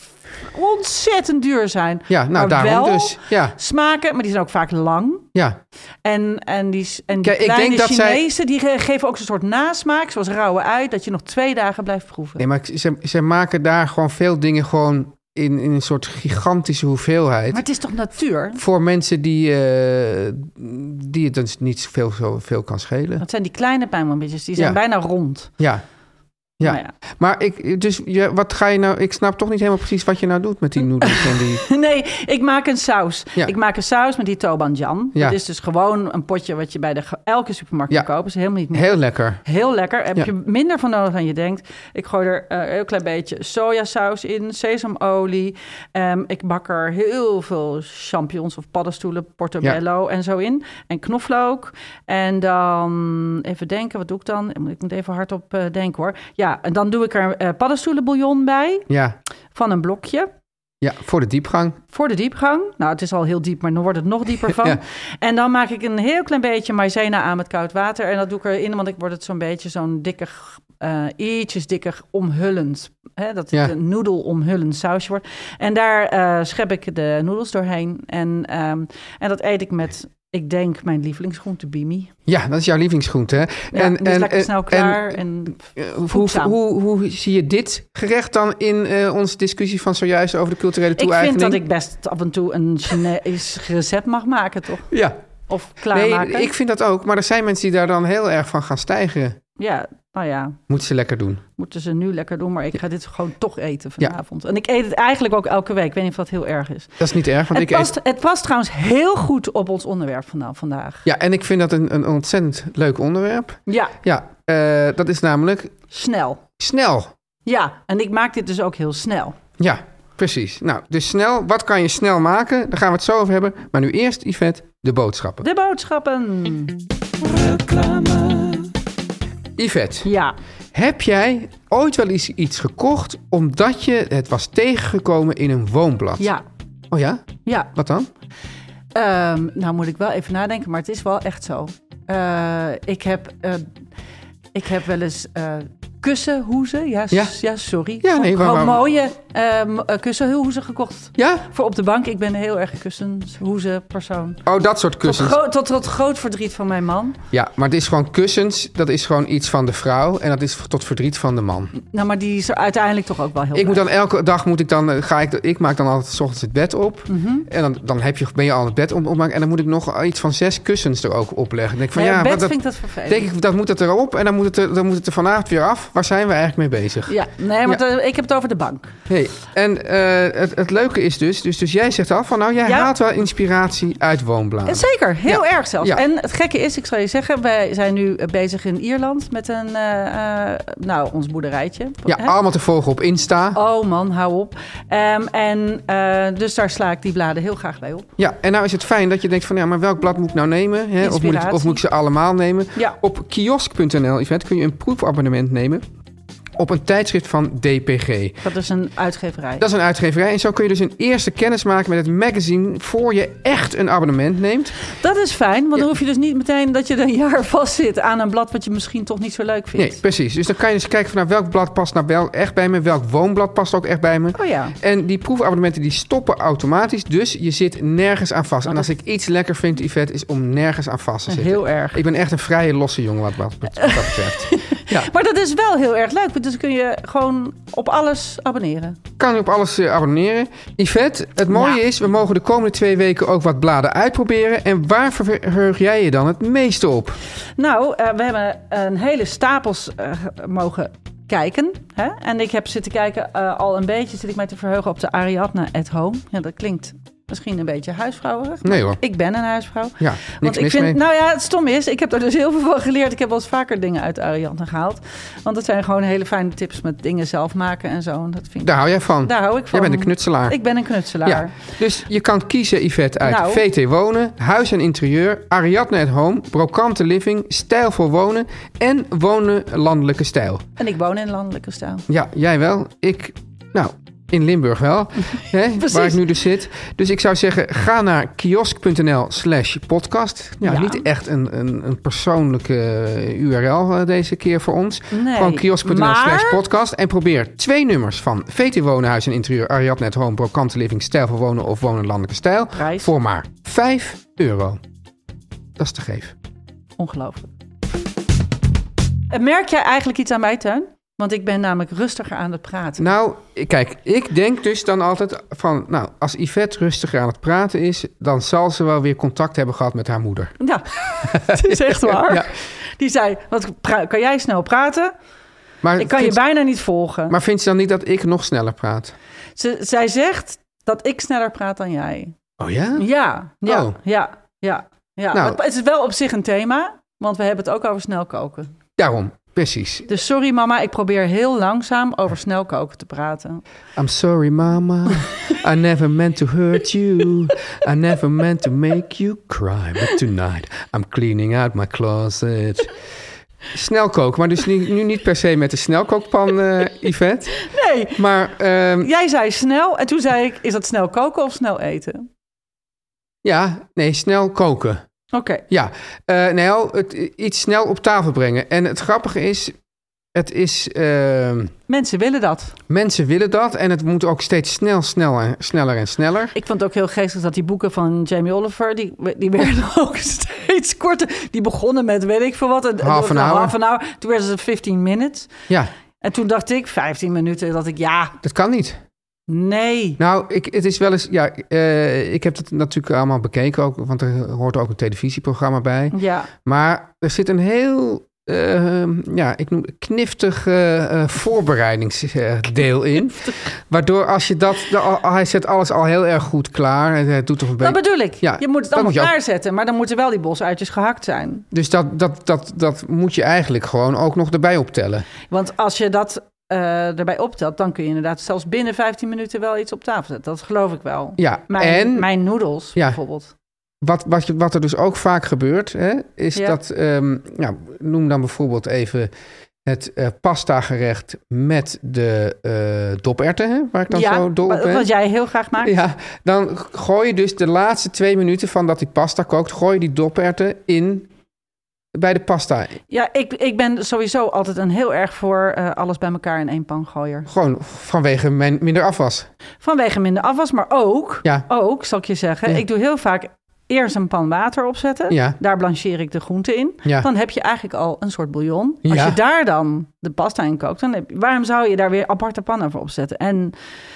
[SPEAKER 4] ontzettend duur zijn.
[SPEAKER 3] Ja, nou
[SPEAKER 4] maar
[SPEAKER 3] daarom
[SPEAKER 4] wel
[SPEAKER 3] dus. Ja,
[SPEAKER 4] Smaken, maar die zijn ook vaak lang.
[SPEAKER 3] ja.
[SPEAKER 4] En, en die, en die
[SPEAKER 3] Kijk, ik
[SPEAKER 4] kleine
[SPEAKER 3] denk dat zij-
[SPEAKER 4] Chinezen, die ge- geven ook zo'n soort nasmaak, zoals rauwe ui, dat je nog twee dagen blijft proeven.
[SPEAKER 3] Nee, maar ze, ze maken daar gewoon veel dingen gewoon in, in een soort gigantische hoeveelheid.
[SPEAKER 4] maar het is toch natuur?
[SPEAKER 3] Voor mensen die, eh, die het dus niet zoveel, zoveel kan schelen.
[SPEAKER 4] Dat zijn die kleine pijnmomentjes, die zijn
[SPEAKER 3] Ja.
[SPEAKER 4] bijna rond.
[SPEAKER 3] Ja. Ja.
[SPEAKER 4] Nou
[SPEAKER 3] Maar ik, dus je, wat ga je nou? Ik snap toch niet helemaal precies wat je nou doet met die noedels en die.
[SPEAKER 4] Nee, ik maak een saus.
[SPEAKER 3] Ja.
[SPEAKER 4] Ik maak een saus met die tobanjan.
[SPEAKER 3] Ja.
[SPEAKER 4] Dat is dus gewoon een potje wat je bij de, ge- elke supermarkt
[SPEAKER 3] Ja.
[SPEAKER 4] kan kopen. is helemaal niet moeilijk.
[SPEAKER 3] Heel lekker.
[SPEAKER 4] Heel lekker. Heb
[SPEAKER 3] Ja.
[SPEAKER 4] je minder van nodig dan je denkt. Ik gooi er eh, een heel klein beetje sojasaus in, sesamolie. Ehm, ik bak er heel veel champignons of paddenstoelen, portobello en zo in. En knoflook. En dan even denken, wat doe ik dan? Ik moet- Ik moet even hardop eh denken hoor. Ja, en dan doe ik er eh paddenstoelenbouillon bij
[SPEAKER 3] Ja.
[SPEAKER 4] van een blokje.
[SPEAKER 3] ja, voor de diepgang.
[SPEAKER 4] Voor de diepgang. Nou, het is al heel diep, maar dan wordt het nog dieper van.
[SPEAKER 3] Ja.
[SPEAKER 4] En dan maak ik een heel klein beetje maizena aan met koud water. En dat doe ik erin, want ik word het zo'n beetje zo'n dikke, eh ietsjes dikker omhullend. Hè, dat het
[SPEAKER 3] Ja.
[SPEAKER 4] een noedel omhullend sausje wordt. En daar eh, schep ik de noedels doorheen. En, ehm, en dat eet ik met, ik denk, mijn lievelingsgroente bimi.
[SPEAKER 3] Ja, dat is jouw lievelingsgroente. Hè?
[SPEAKER 4] Ja, en, die is lekker snel klaar. En,
[SPEAKER 3] eh, hoe,
[SPEAKER 4] voedzaam.
[SPEAKER 3] hoe, hoe zie je dit gerecht dan in eh, onze discussie van zojuist over de culturele
[SPEAKER 4] ik
[SPEAKER 3] toe-eigening?
[SPEAKER 4] vind dat ik best af en toe een Chinees recept mag maken, toch?
[SPEAKER 3] Ja,
[SPEAKER 4] Of
[SPEAKER 3] nee,
[SPEAKER 4] klaarmaken.
[SPEAKER 3] ik vind dat ook. Maar er zijn mensen die daar dan heel erg van gaan stijgen.
[SPEAKER 4] Ja, nou ja.
[SPEAKER 3] Moeten ze lekker doen.
[SPEAKER 4] moeten ze nu lekker doen, maar ik ga dit gewoon toch eten vanavond. En ik eet het eigenlijk ook elke week. Ik weet niet of dat heel erg is.
[SPEAKER 3] Dat is niet erg, want
[SPEAKER 4] het,
[SPEAKER 3] ik
[SPEAKER 4] past,
[SPEAKER 3] eet...
[SPEAKER 4] het past trouwens heel goed op ons onderwerp vanda- vandaag.
[SPEAKER 3] Ja, en ik vind dat een, een ontzettend leuk onderwerp.
[SPEAKER 4] Ja,
[SPEAKER 3] Ja, eh, dat is namelijk
[SPEAKER 4] snel.
[SPEAKER 3] snel.
[SPEAKER 4] Ja, en ik maak dit dus ook heel snel.
[SPEAKER 3] Ja, precies. Nou, dus snel. Wat kan je snel maken? Daar gaan we het zo over hebben. Maar nu eerst, Yvette, de boodschappen.
[SPEAKER 4] De boodschappen.
[SPEAKER 3] Yvette,
[SPEAKER 4] Ja,
[SPEAKER 3] heb jij ooit wel eens iets gekocht omdat je het was tegengekomen in een woonblad?
[SPEAKER 4] ja,
[SPEAKER 3] Oh ja?
[SPEAKER 4] ja.
[SPEAKER 3] Wat dan?
[SPEAKER 4] Ehm, nou moet ik wel even nadenken, maar het is wel echt zo. Eh, ik, heb, eh, ik heb wel eens eh, kussenhoezen. Ja, s-
[SPEAKER 3] Ja.
[SPEAKER 4] ja. sorry.
[SPEAKER 3] Ja, nee, waar-
[SPEAKER 4] Gewoon
[SPEAKER 3] waar-
[SPEAKER 4] mooie ehm, eh, kussenhoezen gekocht.
[SPEAKER 3] Ja?
[SPEAKER 4] Voor op de bank, ik ben een heel erg een kussenshoeze persoon.
[SPEAKER 3] Oh, dat soort
[SPEAKER 4] Tot,
[SPEAKER 3] kussens.
[SPEAKER 4] gro- tot, tot groot verdriet van mijn man.
[SPEAKER 3] Ja, maar het is gewoon kussens. Dat is gewoon iets van de vrouw. En dat is tot verdriet van de man.
[SPEAKER 4] Nou, maar die is er uiteindelijk toch ook wel heel
[SPEAKER 3] Ik moet
[SPEAKER 4] blij.
[SPEAKER 3] dan elke dag moet ik dan eh, ga ik ik maak dan altijd 's ochtends het bed op
[SPEAKER 4] Mhm.
[SPEAKER 3] en dan, dan heb je ben je al het bed om opmaken en dan moet ik nog iets van zes kussens er ook opleggen. Dan denk ik van
[SPEAKER 4] Nee,
[SPEAKER 3] ja,
[SPEAKER 4] bed
[SPEAKER 3] wat, dat,
[SPEAKER 4] vind ik dat vervelend.
[SPEAKER 3] denk ik dat moet het erop en dan moet het er, dan moet het er vanavond weer af. Waar zijn we eigenlijk mee bezig?
[SPEAKER 4] Ja, nee, want eh, ik heb het over de bank.
[SPEAKER 3] Hey, en eh, het, het leuke is dus, dus, dus jij zegt al van nou jij
[SPEAKER 4] Ja.
[SPEAKER 3] haalt wel inspiratie uit woonbladen.
[SPEAKER 4] Eh, Zeker, heel erg zelfs.
[SPEAKER 3] Ja.
[SPEAKER 4] En het gekke is, ik zal je zeggen, wij zijn nu eh, bezig in Ierland met een, eh, eh, nou, ons boerderijtje.
[SPEAKER 3] Ja,
[SPEAKER 4] Hè?
[SPEAKER 3] allemaal te volgen op Insta.
[SPEAKER 4] Oh man, hou op. Ehm, en eh, dus daar sla ik die bladen heel graag bij op.
[SPEAKER 3] Ja, en nou is het fijn dat je denkt van ja, maar welk blad moet ik nou nemen? Hè? Of, moet ik,
[SPEAKER 4] Inspiratie.
[SPEAKER 3] of moet ik ze allemaal nemen?
[SPEAKER 4] Ja.
[SPEAKER 3] Op kiosk.nl event kun je een proefabonnement nemen op een tijdschrift van DPG.
[SPEAKER 4] Dat is een uitgeverij.
[SPEAKER 3] Dat is een uitgeverij en zo kun je dus een eerste kennis maken met het magazine voor je echt een abonnement neemt.
[SPEAKER 4] Dat is fijn, want dan hoef je dus niet meteen dat je er een jaar vast zit aan een blad wat je misschien toch niet zo leuk vindt.
[SPEAKER 3] Nee, precies. Dus dan kan je dus kijken van nou, welk blad past nou wel echt bij me, welk woonblad past ook echt bij me.
[SPEAKER 4] Oh ja.
[SPEAKER 3] En die proefabonnementen die stoppen automatisch, dus je zit nergens aan vast. En als ik iets lekker vind, Yvette, is om nergens aan vast te zitten.
[SPEAKER 4] Heel erg.
[SPEAKER 3] Ik ben echt een vrije losse jongen wat, wat, wat dat betreft. ja,
[SPEAKER 4] Maar dat is wel heel erg leuk, want dus kun je gewoon op alles abonneren.
[SPEAKER 3] kan je op alles eh, abonneren. Yvette, het mooie
[SPEAKER 4] Ja.
[SPEAKER 3] is, we mogen de komende twee weken ook wat bladen uitproberen. En waar verheug jij je dan het meeste op?
[SPEAKER 4] Nou, eh, we hebben een hele stapels eh, mogen kijken. Hè? En ik heb zitten kijken, eh, al een beetje zit ik mij te verheugen op de Ariadne at Home. Ja, dat klinkt misschien een beetje huisvrouwerig. maar
[SPEAKER 3] Nee hoor.
[SPEAKER 4] Ik ben een huisvrouw.
[SPEAKER 3] Ja,
[SPEAKER 4] Want
[SPEAKER 3] niks
[SPEAKER 4] ik
[SPEAKER 3] mis
[SPEAKER 4] vind,
[SPEAKER 3] mee.
[SPEAKER 4] nou ja, het stom is, ik heb er dus heel veel van geleerd. Ik heb wel eens vaker dingen uit Ariadne gehaald. Want dat zijn gewoon hele fijne tips met dingen zelf maken en zo. En dat vind ik,
[SPEAKER 3] Daar hou jij van.
[SPEAKER 4] daar hou ik van.
[SPEAKER 3] Jij bent een knutselaar.
[SPEAKER 4] Ik ben een knutselaar.
[SPEAKER 3] Ja, dus je kan kiezen, Yvette, uit
[SPEAKER 4] Nou.
[SPEAKER 3] VT Wonen, Huis en Interieur, Ariadne at Home, Brokante Living, Stijl voor Wonen en Wonen Landelijke Stijl.
[SPEAKER 4] En ik woon in landelijke stijl.
[SPEAKER 3] Ja, jij wel. Ik, nou, In Limburg wel, hè, waar ik
[SPEAKER 4] Precies.
[SPEAKER 3] nu dus zit. Dus ik zou zeggen, ga naar kiosk.nl slash podcast. Ja,
[SPEAKER 4] Ja.
[SPEAKER 3] Niet echt een, een, een persoonlijke eh, URL eh, deze keer voor ons.
[SPEAKER 4] Nee,
[SPEAKER 3] Gewoon kiosk.nl slash
[SPEAKER 4] maar-
[SPEAKER 3] podcast. En probeer twee nummers van VT Wonenhuis en Interieur, Ariadne het Home, Pro, Kanten Living, Stijl voor Wonen of Wonen Landelijke Stijl.
[SPEAKER 4] Prijs.
[SPEAKER 3] Voor maar 5 euro. Dat is te geef.
[SPEAKER 4] Ongelooflijk. En Merk jij eigenlijk iets aan mij, Teun? Want ik ben namelijk rustiger aan het praten.
[SPEAKER 3] Nou, kijk, ik denk dus dan altijd van... Nou, als Yvette rustiger aan het praten is... dan zal ze wel weer contact hebben gehad met haar moeder.
[SPEAKER 4] Ja, het is echt waar.
[SPEAKER 3] Ja.
[SPEAKER 4] Die zei, wat, pra- kan jij snel praten?
[SPEAKER 3] Maar
[SPEAKER 4] Ik kan je
[SPEAKER 3] vindt-
[SPEAKER 4] bijna niet volgen.
[SPEAKER 3] Maar vindt ze dan niet dat ik nog sneller praat?
[SPEAKER 4] Ze, zij zegt dat ik sneller praat dan jij.
[SPEAKER 3] Oh ja?
[SPEAKER 4] Ja, ja,
[SPEAKER 3] Oh.
[SPEAKER 4] ja, ja. ja.
[SPEAKER 3] Nou.
[SPEAKER 4] Maar het is wel op zich een thema, want we hebben het ook over snel koken.
[SPEAKER 3] Daarom, precies.
[SPEAKER 4] Dus sorry mama, ik probeer heel langzaam over snel koken te praten.
[SPEAKER 3] I'm sorry mama, I never meant to hurt you. I never meant to make you cry. But tonight I'm cleaning out my closet. Snelkook, maar dus nu, nu niet per se met de snelkookpan, eh, Yvette.
[SPEAKER 4] Nee,
[SPEAKER 3] Maar ehm,
[SPEAKER 4] jij zei snel en toen zei ik, is dat snel koken of snel eten?
[SPEAKER 3] ja, nee, snel koken.
[SPEAKER 4] Oké,
[SPEAKER 3] Ja, eh nou, het, iets snel op tafel brengen. En het grappige is, het is... ehm,
[SPEAKER 4] mensen willen dat.
[SPEAKER 3] Mensen willen dat en het moet ook steeds snel, snel en, sneller en sneller.
[SPEAKER 4] Ik vond het ook heel geestig dat die boeken van Jamie Oliver, die, die werden ook steeds korter. Die begonnen met weet ik veel wat. En,
[SPEAKER 3] Half an
[SPEAKER 4] nou,
[SPEAKER 3] hour.
[SPEAKER 4] half an hour. Toen werden ze 15 minutes.
[SPEAKER 3] Ja,
[SPEAKER 4] En toen dacht ik, 15 minuten, dat ik ja,
[SPEAKER 3] dat kan niet.
[SPEAKER 4] nee.
[SPEAKER 3] Nou, ik, het is wel eens. Ja, eh, ik heb het natuurlijk allemaal bekeken ook, want er hoort ook een televisieprogramma bij.
[SPEAKER 4] Ja,
[SPEAKER 3] Maar er zit een heel. eh, ja, ik noem het kniftig eh, eh, voorbereidingsdeel in. Waardoor als je dat. al- al- Hij zet alles al heel erg goed klaar. En hij doet toch een
[SPEAKER 4] dat
[SPEAKER 3] beetje.
[SPEAKER 4] bedoel ik.
[SPEAKER 3] ja,
[SPEAKER 4] je moet het
[SPEAKER 3] dat
[SPEAKER 4] allemaal
[SPEAKER 3] moet je ook-
[SPEAKER 4] klaarzetten, maar dan moeten wel die bosuitjes gehakt zijn.
[SPEAKER 3] Dus dat, dat, dat, dat moet je eigenlijk gewoon ook nog erbij optellen.
[SPEAKER 4] Want als je dat eh, erbij optelt, dan kun je inderdaad zelfs binnen 15 minuten wel iets op tafel zetten. Dat geloof ik wel.
[SPEAKER 3] Ja,
[SPEAKER 4] Mijn,
[SPEAKER 3] en.
[SPEAKER 4] mijn noedels
[SPEAKER 3] Ja.
[SPEAKER 4] bijvoorbeeld.
[SPEAKER 3] Wat, wat, je- wat er dus ook vaak gebeurt, hè, is
[SPEAKER 4] Ja.
[SPEAKER 3] dat, ehm, nou, noem dan bijvoorbeeld even het eh pasta gerecht met de eh doperwten, hè, waar ik dan zo dol op
[SPEAKER 4] wat,
[SPEAKER 3] ben.
[SPEAKER 4] wat jij heel graag maakt.
[SPEAKER 3] Ja, dan gooi je dus de laatste twee minuten van dat die pasta kookt, gooi je die doperwten in bij de pasta.
[SPEAKER 4] Ja, ik, ik ben sowieso altijd een heel erg voor eh, alles bij elkaar in één pan gooier.
[SPEAKER 3] Gewoon vanwege mijn minder afwas.
[SPEAKER 4] Vanwege minder afwas, maar ook,
[SPEAKER 3] Ja.
[SPEAKER 4] ook zal ik je zeggen,
[SPEAKER 3] Ja.
[SPEAKER 4] ik doe heel vaak eerst een pan water opzetten.
[SPEAKER 3] Ja.
[SPEAKER 4] Daar blancheer ik de groenten in.
[SPEAKER 3] Ja.
[SPEAKER 4] Dan heb je eigenlijk al een soort bouillon. Als
[SPEAKER 3] Ja.
[SPEAKER 4] je daar dan de pasta in kookt, dan heb je- waarom zou je daar weer aparte pannen voor opzetten? En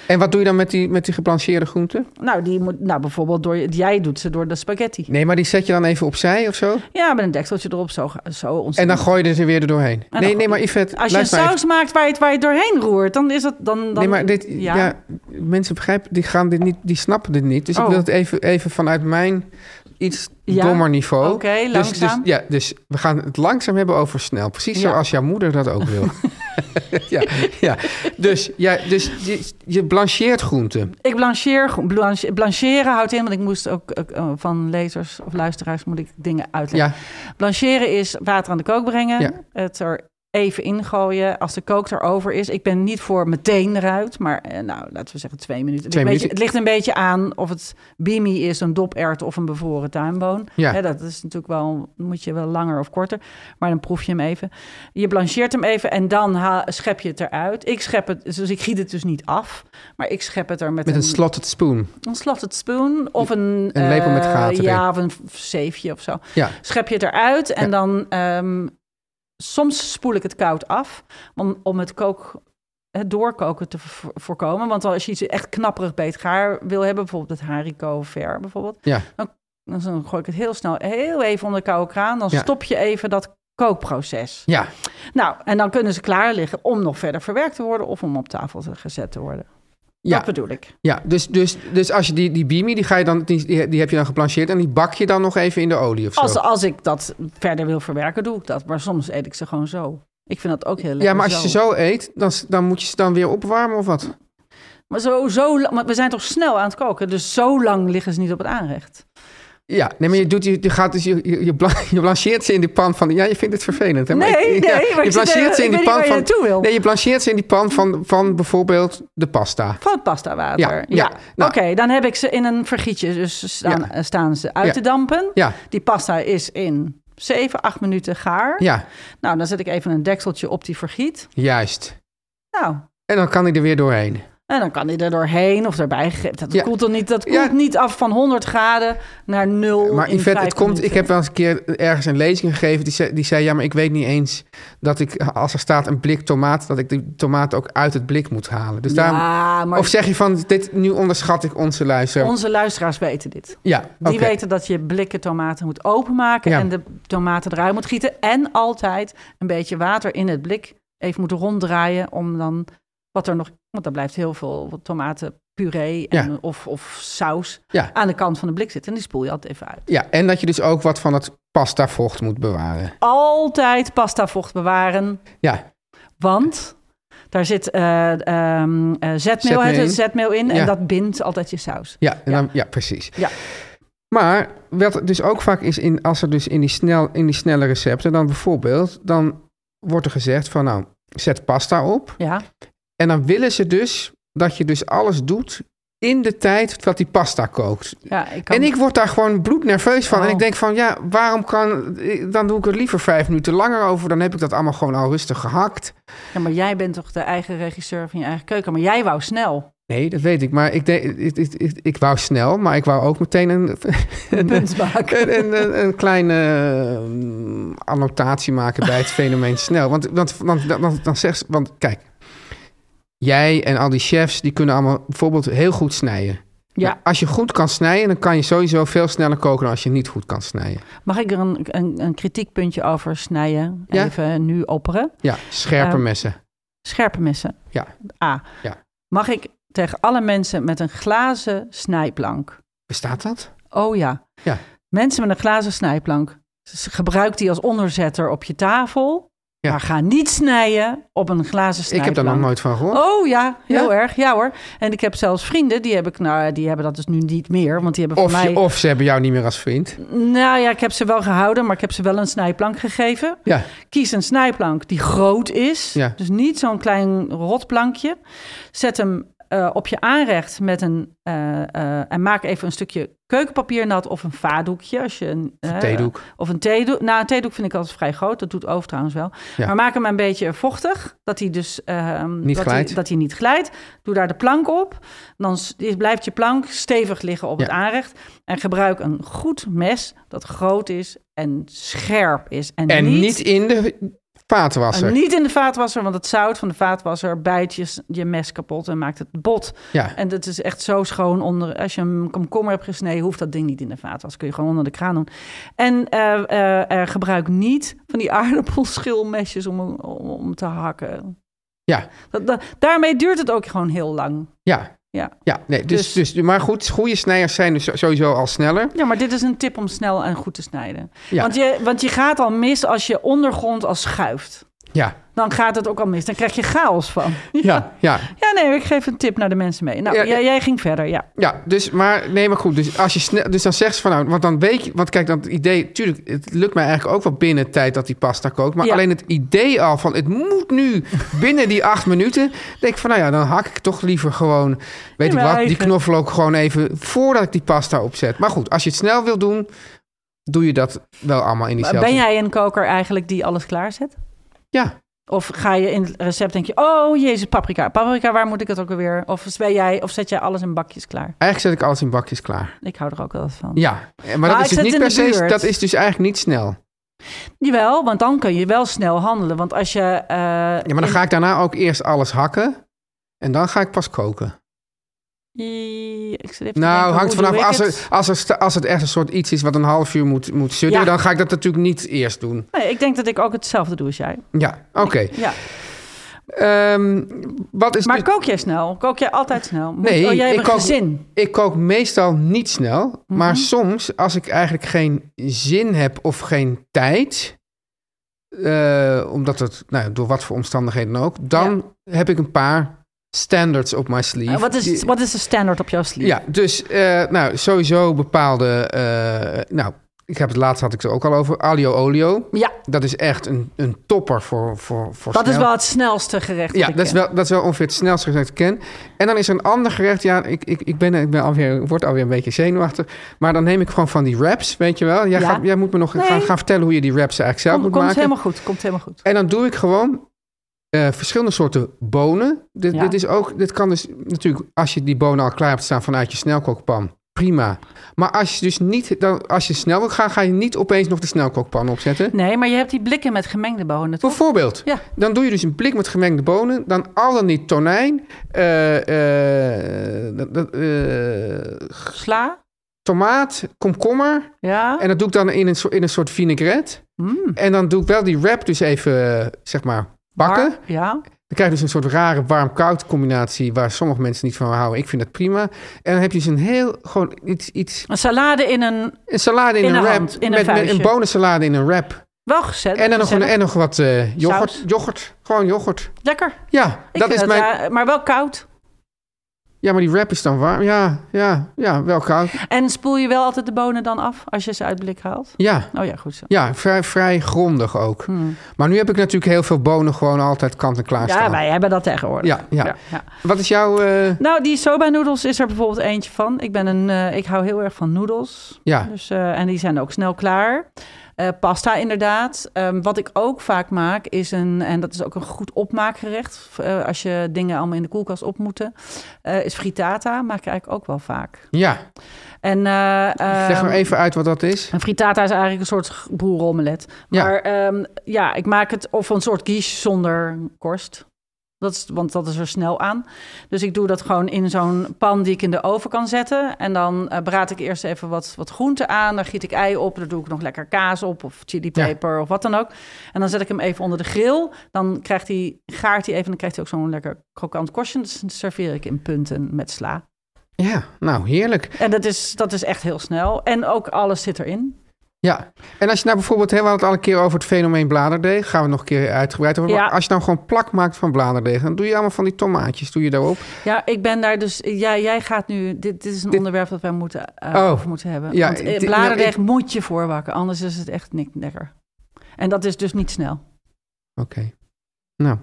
[SPEAKER 3] En wat doe je dan met die, met die geblancheerde groenten?
[SPEAKER 4] nou, die moet, nou bijvoorbeeld, door, je- jij doet ze door de spaghetti.
[SPEAKER 3] Nee, maar die zet je dan even opzij of zo?
[SPEAKER 4] Ja, met een dekseltje erop, zo, zo
[SPEAKER 3] En
[SPEAKER 4] ontzettend.
[SPEAKER 3] dan gooi je er weer er doorheen.
[SPEAKER 4] dan
[SPEAKER 3] Nee,
[SPEAKER 4] gooi-
[SPEAKER 3] nee, maar Yvette,
[SPEAKER 4] Als je een
[SPEAKER 3] luister maar even.
[SPEAKER 4] saus maakt waar je, het, waar je het doorheen roert, dan is het... Dan, dan,
[SPEAKER 3] nee, maar dit, ja. mensen begrijpen, die, gaan dit niet, die snappen dit niet. Dus ik
[SPEAKER 4] Oh.
[SPEAKER 3] wil het even, even vanuit mijn iets
[SPEAKER 4] Ja, Oh.
[SPEAKER 3] dommer niveau.
[SPEAKER 4] oké,
[SPEAKER 3] Dus-
[SPEAKER 4] langzaam.
[SPEAKER 3] Dus, ja, dus we gaan het langzaam hebben over snel. Precies
[SPEAKER 4] Ja.
[SPEAKER 3] zoals jouw moeder dat ook wil. ja, ja. Dus, ja, dus je, je blancheert groenten.
[SPEAKER 4] Ik blancheer, gro- blanche- blancheren houdt in, want ik moest ook eh, van lezers of luisteraars moet ik dingen uitleggen.
[SPEAKER 3] Ja,
[SPEAKER 4] Blancheren is water aan de kook brengen,
[SPEAKER 3] Ja.
[SPEAKER 4] het er even ingooien als de kook erover is. Ik ben niet voor meteen eruit, maar eh, nou, laten we zeggen twee minuten. Het,
[SPEAKER 3] Twee
[SPEAKER 4] ligt een beetje-
[SPEAKER 3] minuten.
[SPEAKER 4] het ligt een beetje aan of het bimi is, een dopert of een bevroren tuinboon.
[SPEAKER 3] Ja.
[SPEAKER 4] Hè, dat is natuurlijk wel, moet je wel langer of korter, maar dan proef je hem even. Je blancheert hem even en dan haal- schep je het eruit. Ik schep het, dus ik giet het dus niet af, maar ik schep het er met,
[SPEAKER 3] met een slotted spoon.
[SPEAKER 4] een slotted spoon of een...
[SPEAKER 3] Een lepel met
[SPEAKER 4] eh,
[SPEAKER 3] gaten
[SPEAKER 4] Ja, of een v- zeefje of zo.
[SPEAKER 3] Ja.
[SPEAKER 4] Schep je het eruit en
[SPEAKER 3] Ja.
[SPEAKER 4] dan... ehm, soms spoel ik het koud af om, om het kook... Het doorkoken te vo- voorkomen. Want als je iets echt knapperig bij het gaar wil hebben, bijvoorbeeld het haricot ver bijvoorbeeld,
[SPEAKER 3] Ja.
[SPEAKER 4] dan, dan zo- gooi ik het heel snel, heel even onder de koude kraan. Dan
[SPEAKER 3] Ja.
[SPEAKER 4] stop je even dat kookproces.
[SPEAKER 3] Ja,
[SPEAKER 4] Nou, en dan kunnen ze klaar liggen om nog verder verwerkt te worden of om op tafel te- gezet te worden.
[SPEAKER 3] ja,
[SPEAKER 4] Dat bedoel ik.
[SPEAKER 3] ja. Dus, dus, dus als je die, die bimi, die, ga je dan, die, die, die heb je dan geblancheerd... en die bak je dan nog even in de olie of zo.
[SPEAKER 4] Als, als ik dat verder wil verwerken, doe ik dat. Maar soms eet ik ze gewoon zo. Ik vind dat ook heel lekker.
[SPEAKER 3] ja, maar als je ze zo eet, dan, dan moet je ze dan weer opwarmen of wat?
[SPEAKER 4] Maar zo, zo, lang- maar we zijn toch snel aan het koken, dus zo lang liggen ze niet op het aanrecht.
[SPEAKER 3] Ja, nee, maar je, doet, je, je gaat dus, je, je, je bla- je blancheert ze in die pan van... Ja, je vindt het vervelend, hè? Maar
[SPEAKER 4] Nee,
[SPEAKER 3] ik-
[SPEAKER 4] nee,
[SPEAKER 3] ja,
[SPEAKER 4] maar
[SPEAKER 3] je
[SPEAKER 4] ik zit
[SPEAKER 3] blancheert
[SPEAKER 4] even-
[SPEAKER 3] ze in die
[SPEAKER 4] ik weet niet
[SPEAKER 3] pan
[SPEAKER 4] waar je
[SPEAKER 3] van...
[SPEAKER 4] naartoe wil.
[SPEAKER 3] Nee, je blancheert ze in die pan van, van bijvoorbeeld de pasta.
[SPEAKER 4] Van het pastawater.
[SPEAKER 3] Ja,
[SPEAKER 4] Ja.
[SPEAKER 3] ja, nou.
[SPEAKER 4] Oké, dan heb ik ze in een vergietje. Dus staan,
[SPEAKER 3] Ja.
[SPEAKER 4] eh, staan ze uit
[SPEAKER 3] Ja.
[SPEAKER 4] te dampen.
[SPEAKER 3] Ja,
[SPEAKER 4] Die pasta is in 7, 8 minuten gaar.
[SPEAKER 3] ja,
[SPEAKER 4] Nou, dan zet ik even een dekseltje op die vergiet.
[SPEAKER 3] juist.
[SPEAKER 4] Nou,
[SPEAKER 3] En dan kan hij er weer doorheen.
[SPEAKER 4] en dan kan die er doorheen of erbij gegeten. Dat
[SPEAKER 3] Ja.
[SPEAKER 4] koelt dan niet, dat koelt
[SPEAKER 3] Ja.
[SPEAKER 4] niet af van 100 graden naar 0.
[SPEAKER 3] Maar
[SPEAKER 4] in
[SPEAKER 3] Yvette,
[SPEAKER 4] vijf
[SPEAKER 3] het komt, ik
[SPEAKER 4] minuten.
[SPEAKER 3] heb wel eens een keer ergens een lezing gegeven. Die zei, die zei, ja, maar ik weet niet eens dat ik, als er staat een blik tomaat, dat ik die tomaat ook uit het blik moet halen. Dus daarom,
[SPEAKER 4] Ja, maar
[SPEAKER 3] of zeg je van, dit, nu onderschat ik onze luisteraar.
[SPEAKER 4] onze luisteraars weten dit.
[SPEAKER 3] ja,
[SPEAKER 4] Die
[SPEAKER 3] oké.
[SPEAKER 4] weten dat je blikken tomaten moet openmaken
[SPEAKER 3] Ja.
[SPEAKER 4] en de tomaten eruit moet gieten. En altijd een beetje water in het blik even moeten ronddraaien om dan wat er nog... Want dan blijft heel veel tomatenpuree en,
[SPEAKER 3] Ja.
[SPEAKER 4] of, of saus
[SPEAKER 3] Ja.
[SPEAKER 4] aan de kant van de blik zitten. En die spoel je altijd even uit.
[SPEAKER 3] Ja, en dat je dus ook wat van het pasta vocht moet bewaren.
[SPEAKER 4] Altijd pastavocht bewaren,
[SPEAKER 3] Ja,
[SPEAKER 4] want... Daar zit eh ehm eh, zetmeel,
[SPEAKER 3] Zetmeel
[SPEAKER 4] hè,
[SPEAKER 3] in.
[SPEAKER 4] zit zetmeel in
[SPEAKER 3] Ja.
[SPEAKER 4] en dat bindt altijd je saus.
[SPEAKER 3] ja, en
[SPEAKER 4] Ja.
[SPEAKER 3] Dan, ja precies.
[SPEAKER 4] Ja.
[SPEAKER 3] Maar wat het dus ook vaak is, in, als er dus in die, snel, in die snelle recepten, dan bijvoorbeeld, dan wordt er gezegd van, nou, zet pasta op.
[SPEAKER 4] Ja,
[SPEAKER 3] En dan willen ze dus dat je dus alles doet in de tijd dat die pasta kookt.
[SPEAKER 4] ja ik kan
[SPEAKER 3] En ik word daar gewoon bloednerveus van.
[SPEAKER 4] Oh.
[SPEAKER 3] En ik denk van, ja, waarom kan... Dan doe ik er liever vijf minuten langer over. Dan heb ik dat allemaal gewoon al rustig gehakt.
[SPEAKER 4] Ja, maar jij bent toch de eigen regisseur van je eigen keuken? Maar jij wou snel.
[SPEAKER 3] Nee, dat weet ik. Maar ik, deed- ik, ik, ik, ik wou snel, maar ik wou ook meteen een, een,
[SPEAKER 4] Punt maken.
[SPEAKER 3] een, een, een- een kleine ehm, annotatie maken bij het fenomeen snel. Want, want, want dan, dan, dan zegt ze- Want kijk, jij en al die chefs... die kunnen allemaal bijvoorbeeld heel goed snijden. Nou,
[SPEAKER 4] Ja.
[SPEAKER 3] Als je goed kan snijden, dan kan je sowieso veel sneller koken dan als je niet goed kan snijden.
[SPEAKER 4] Mag ik er een, een, een kritiekpuntje over snijden?
[SPEAKER 3] Ja.
[SPEAKER 4] Even nu opperen.
[SPEAKER 3] Ja, scherpe
[SPEAKER 4] Ehm,
[SPEAKER 3] messen.
[SPEAKER 4] Scherpe messen.
[SPEAKER 3] Ja.
[SPEAKER 4] A.
[SPEAKER 3] Ja.
[SPEAKER 4] Mag ik tegen alle mensen met een glazen snijplank?
[SPEAKER 3] Bestaat dat?
[SPEAKER 4] Oh ja.
[SPEAKER 3] Ja.
[SPEAKER 4] Mensen met een glazen snijplank. s- Gebruik die als onderzetter op je tafel.
[SPEAKER 3] Ja.
[SPEAKER 4] Maar ga niet snijden op een glazen
[SPEAKER 3] Ik
[SPEAKER 4] snijplank.
[SPEAKER 3] heb daar nog nooit van gehoord.
[SPEAKER 4] Oh ja, heel
[SPEAKER 3] Ja?
[SPEAKER 4] erg. Ja hoor. En ik heb zelfs vrienden, die, heb ik, nou, die hebben dat dus nu niet meer. Want die hebben
[SPEAKER 3] of,
[SPEAKER 4] voor
[SPEAKER 3] je-
[SPEAKER 4] mij...
[SPEAKER 3] of ze hebben jou niet meer als vriend.
[SPEAKER 4] Nou ja, ik heb ze wel gehouden, maar ik heb ze wel een snijplank gegeven.
[SPEAKER 3] Ja,
[SPEAKER 4] Kies een snijplank die groot is.
[SPEAKER 3] Ja.
[SPEAKER 4] Dus niet zo'n klein rotplankje. Zet hem eh, op je aanrecht met een. eh, eh, en maak even een stukje keukenpapier nat of een vaadoekje. Als je een,
[SPEAKER 3] een
[SPEAKER 4] eh,
[SPEAKER 3] theedoek.
[SPEAKER 4] Of een theedoek. Nou, een theedoek vind ik altijd vrij groot. Dat doet over trouwens wel.
[SPEAKER 3] Ja.
[SPEAKER 4] Maar maak hem een beetje vochtig. Dat hij dus. eh,
[SPEAKER 3] Niet
[SPEAKER 4] dat
[SPEAKER 3] glijdt.
[SPEAKER 4] Hij, dat hij niet glijdt. Doe daar de plank op. Dan s- is- blijft je plank stevig liggen op
[SPEAKER 3] Ja.
[SPEAKER 4] het aanrecht. En gebruik een goed mes dat groot is en scherp is. En,
[SPEAKER 3] En
[SPEAKER 4] niet,
[SPEAKER 3] niet in de vaatwasser.
[SPEAKER 4] en niet in de vaatwasser, want het zout van de vaatwasser bijt je, s- je mes kapot en maakt het bot.
[SPEAKER 3] Ja.
[SPEAKER 4] En dat is echt zo schoon onder. Als je een komkommer hebt gesneden, hoeft dat ding niet in de vaatwas. Kun je gewoon onder de kraan doen. En eh, eh, eh, gebruik niet van die aardappelschilmesjes om, om, om te hakken.
[SPEAKER 3] Ja.
[SPEAKER 4] Dat, dat- daarmee duurt het ook gewoon heel lang.
[SPEAKER 3] Ja.
[SPEAKER 4] Ja.
[SPEAKER 3] ja nee, dus, dus,
[SPEAKER 4] Dus-
[SPEAKER 3] maar goed, goede snijders zijn dus sowieso al sneller.
[SPEAKER 4] Ja, maar dit is een tip om snel en goed te snijden.
[SPEAKER 3] Ja.
[SPEAKER 4] Want, je, want je gaat al mis als je ondergrond al schuift.
[SPEAKER 3] Ja,
[SPEAKER 4] Dan gaat het ook al mis. Dan krijg je chaos van.
[SPEAKER 3] ja, ja.
[SPEAKER 4] Ja, nee, ik geef een tip naar de mensen mee. Nou,
[SPEAKER 3] Ja,
[SPEAKER 4] jij, jij ging verder, ja.
[SPEAKER 3] ja dus, maar, nee, maar goed. Dus, als je snel, dus dan zegt ze van nou, want dan weet je, want kijk, dan het idee, tuurlijk, het lukt mij eigenlijk ook wel binnen de tijd dat die pasta kookt. Maar
[SPEAKER 4] Ja.
[SPEAKER 3] alleen het idee al van het moet nu binnen die acht minuten. Denk ik van nou ja, dan hak ik toch liever gewoon, weet
[SPEAKER 4] Ja,
[SPEAKER 3] ik
[SPEAKER 4] maar
[SPEAKER 3] wat, die
[SPEAKER 4] even-
[SPEAKER 3] knoflook gewoon even voordat ik die pasta opzet. Maar goed, als je het snel wil doen, doe je dat wel allemaal in diezelfde.
[SPEAKER 4] Ben jij een koker eigenlijk die alles klaarzet?
[SPEAKER 3] Ja.
[SPEAKER 4] Of ga je in het recept denk je, oh jezus, paprika. Paprika, waar moet ik het ook alweer? Of, ben jij, of zet jij alles in bakjes klaar?
[SPEAKER 3] Eigenlijk zet ik alles in bakjes klaar.
[SPEAKER 4] Ik hou er ook wel wat van.
[SPEAKER 3] Ja, eh, maar,
[SPEAKER 4] Maar
[SPEAKER 3] dat
[SPEAKER 4] Ah, ik
[SPEAKER 3] is dus
[SPEAKER 4] zet
[SPEAKER 3] niet
[SPEAKER 4] het
[SPEAKER 3] per
[SPEAKER 4] in de
[SPEAKER 3] se,
[SPEAKER 4] buurt.
[SPEAKER 3] dat is dus eigenlijk niet snel.
[SPEAKER 4] Jawel, want dan kun je wel snel handelen. Want als je... eh,
[SPEAKER 3] Ja, maar dan
[SPEAKER 4] in-
[SPEAKER 3] ga ik daarna ook eerst alles hakken. En dan ga ik pas koken.
[SPEAKER 4] I- Ik zit even te denken,
[SPEAKER 3] Nou,
[SPEAKER 4] hoe
[SPEAKER 3] hangt
[SPEAKER 4] doe
[SPEAKER 3] vanaf.
[SPEAKER 4] ik
[SPEAKER 3] Als,
[SPEAKER 4] het?
[SPEAKER 3] er, als, er, sta- als het echt een soort iets is wat een half uur moet, moet sudderen,
[SPEAKER 4] Ja.
[SPEAKER 3] dan ga ik dat natuurlijk niet eerst doen.
[SPEAKER 4] Nee, ik denk dat ik ook hetzelfde doe als jij.
[SPEAKER 3] Ja, oké.
[SPEAKER 4] Ja.
[SPEAKER 3] Ehm, wat is.
[SPEAKER 4] Maar
[SPEAKER 3] dus-
[SPEAKER 4] kook jij snel? Kook jij altijd snel? Moet-
[SPEAKER 3] Nee,
[SPEAKER 4] oh, jij hebt
[SPEAKER 3] ik
[SPEAKER 4] een
[SPEAKER 3] kook-
[SPEAKER 4] gezin.
[SPEAKER 3] ik kook meestal niet snel.
[SPEAKER 4] Mhm.
[SPEAKER 3] Maar soms, als ik eigenlijk geen zin heb of geen tijd. eh, omdat het, nou, ja, door wat voor omstandigheden ook. Dan heb ik een paar standards op my sleeve.
[SPEAKER 4] Eh, Wat is,
[SPEAKER 3] Die-
[SPEAKER 4] wat is de standaard op jouw sleeve?
[SPEAKER 3] Ja, dus eh, nou, sowieso bepaalde... eh, nou, ik heb het laatst had ik het er ook al over. Alio olio.
[SPEAKER 4] Ja,
[SPEAKER 3] Dat is echt een, een topper voor, voor, voor
[SPEAKER 4] dat is
[SPEAKER 3] snel.
[SPEAKER 4] wel het snelste gerecht.
[SPEAKER 3] Ja,
[SPEAKER 4] ik
[SPEAKER 3] dat is,
[SPEAKER 4] ken.
[SPEAKER 3] wel, dat is wel ongeveer het snelste gerecht dat ik ken. En dan is er een ander gerecht. Ja, ik, ik, ik, ben, ik ben alweer, word alweer een beetje zenuwachtig. Maar dan neem ik gewoon van die wraps, weet je wel. Jij,
[SPEAKER 4] Ja.
[SPEAKER 3] gaat, jij moet me nog
[SPEAKER 4] Nee.
[SPEAKER 3] gaan, gaan vertellen hoe je die wraps eigenlijk zelf
[SPEAKER 4] Kom-
[SPEAKER 3] moet
[SPEAKER 4] komt
[SPEAKER 3] maken.
[SPEAKER 4] helemaal goed, komt helemaal goed.
[SPEAKER 3] En dan doe ik gewoon eh, verschillende soorten bonen. Dit,
[SPEAKER 4] Ja.
[SPEAKER 3] dit, is ook, dit kan dus natuurlijk, als je die bonen al klaar hebt staan vanuit je snelkookpan, prima. Maar als je dus niet, dan, als je snel wil gaan, ga je niet opeens nog de snelkookpan opzetten.
[SPEAKER 4] Nee, maar je hebt die blikken met gemengde bonen, toch?
[SPEAKER 3] Bijvoorbeeld,
[SPEAKER 4] Ja.
[SPEAKER 3] dan doe je dus een blik met gemengde bonen, dan al dan niet tonijn, eh, eh, dat- dat, eh,
[SPEAKER 4] Sla.
[SPEAKER 3] tomaat, komkommer.
[SPEAKER 4] Ja.
[SPEAKER 3] En dat doe ik dan in een, soort- in een soort vinaigrette.
[SPEAKER 4] Mm.
[SPEAKER 3] En dan doe ik wel die wrap dus even, eh, zeg maar, bakken.
[SPEAKER 4] Waar- Ja.
[SPEAKER 3] Dan krijg je dus een soort rare warm-koud combinatie waar sommige mensen niet van houden. Ik vind dat prima. En dan heb je dus een heel, gewoon iets, iets
[SPEAKER 4] Een salade in een...
[SPEAKER 3] een salade in,
[SPEAKER 4] In
[SPEAKER 3] een
[SPEAKER 4] een
[SPEAKER 3] wrap.
[SPEAKER 4] hand, in een
[SPEAKER 3] met, met
[SPEAKER 4] vuistje.
[SPEAKER 3] een bonensalade in een wrap.
[SPEAKER 4] Wel gezet.
[SPEAKER 3] En dan nog, een,
[SPEAKER 4] gezellig.
[SPEAKER 3] en nog wat eh, yoghurt,
[SPEAKER 4] Saus.
[SPEAKER 3] yoghurt. Gewoon yoghurt.
[SPEAKER 4] Lekker.
[SPEAKER 3] Ja,
[SPEAKER 4] Ik
[SPEAKER 3] dat
[SPEAKER 4] vind
[SPEAKER 3] is
[SPEAKER 4] dat,
[SPEAKER 3] mijn...
[SPEAKER 4] ja, maar wel koud.
[SPEAKER 3] Ja, maar die wrap is dan warm. Ja, ja, ja, wel koud.
[SPEAKER 4] En spoel je wel altijd de bonen dan af als je ze uit blik haalt?
[SPEAKER 3] Ja,
[SPEAKER 4] Oh ja, goed zo.
[SPEAKER 3] ja vrij, vrij grondig ook.
[SPEAKER 4] Hmm.
[SPEAKER 3] Maar nu heb ik natuurlijk heel veel bonen gewoon altijd kant en klaar
[SPEAKER 4] Ja,
[SPEAKER 3] staan.
[SPEAKER 4] wij hebben dat tegenwoordig.
[SPEAKER 3] ja, ja.
[SPEAKER 4] ja.
[SPEAKER 3] Wat is jouw... eh,
[SPEAKER 4] Nou, die soba noedels is er bijvoorbeeld eentje van. Ik, ben een, eh, ik hou heel erg van noedels.
[SPEAKER 3] ja,
[SPEAKER 4] Dus, eh, en die zijn ook snel klaar. Eh, pasta inderdaad. Ehm, wat ik ook vaak maak is een, en dat is ook een goed opmaakgerecht, eh, als je dingen allemaal in de koelkast op moeten, eh, is frittata. Maak ik eigenlijk ook wel vaak.
[SPEAKER 3] ja.
[SPEAKER 4] En, eh,
[SPEAKER 3] Leg maar
[SPEAKER 4] ehm,
[SPEAKER 3] even uit wat dat is.
[SPEAKER 4] Een frittata is eigenlijk een soort boeromelet.
[SPEAKER 3] Ja.
[SPEAKER 4] Maar ehm, ja, ik maak het of een soort quiche zonder korst. Dat is, want dat is er snel aan. Dus ik doe dat gewoon in zo'n pan die ik in de oven kan zetten. En dan eh braad ik eerst even wat, wat groenten aan. Daar giet ik ei op. Daar doe ik nog lekker kaas op of chilipeper of wat dan ook. En dan zet ik hem even onder de grill. Dan krijgt hij, gaart hij even. Dan krijgt hij ook zo'n lekker krokant korstje. Dus dat serveer ik in punten met sla.
[SPEAKER 3] Ja, nou, heerlijk.
[SPEAKER 4] En dat is, dat is echt heel snel. En ook alles zit erin.
[SPEAKER 3] Ja, en als je nou bijvoorbeeld, hè, we hadden het al een keer over het fenomeen bladerdeeg, gaan we nog een keer uitgebreid over.
[SPEAKER 4] Ja.
[SPEAKER 3] Maar als je nou gewoon plak maakt van bladerdeeg, dan doe je allemaal van die tomaatjes, doe je daarop.
[SPEAKER 4] Ja, ik ben daar dus. Ja, jij gaat nu. Dit, dit is een
[SPEAKER 3] Dit-
[SPEAKER 4] onderwerp dat wij moeten, eh,
[SPEAKER 3] Oh.
[SPEAKER 4] over moeten hebben.
[SPEAKER 3] Ja,
[SPEAKER 4] Want eh,
[SPEAKER 3] dit- nou,
[SPEAKER 4] bladerdeeg moet je voorwakken, anders is het echt niet lekker. En dat is dus niet snel.
[SPEAKER 3] Oké. Nou.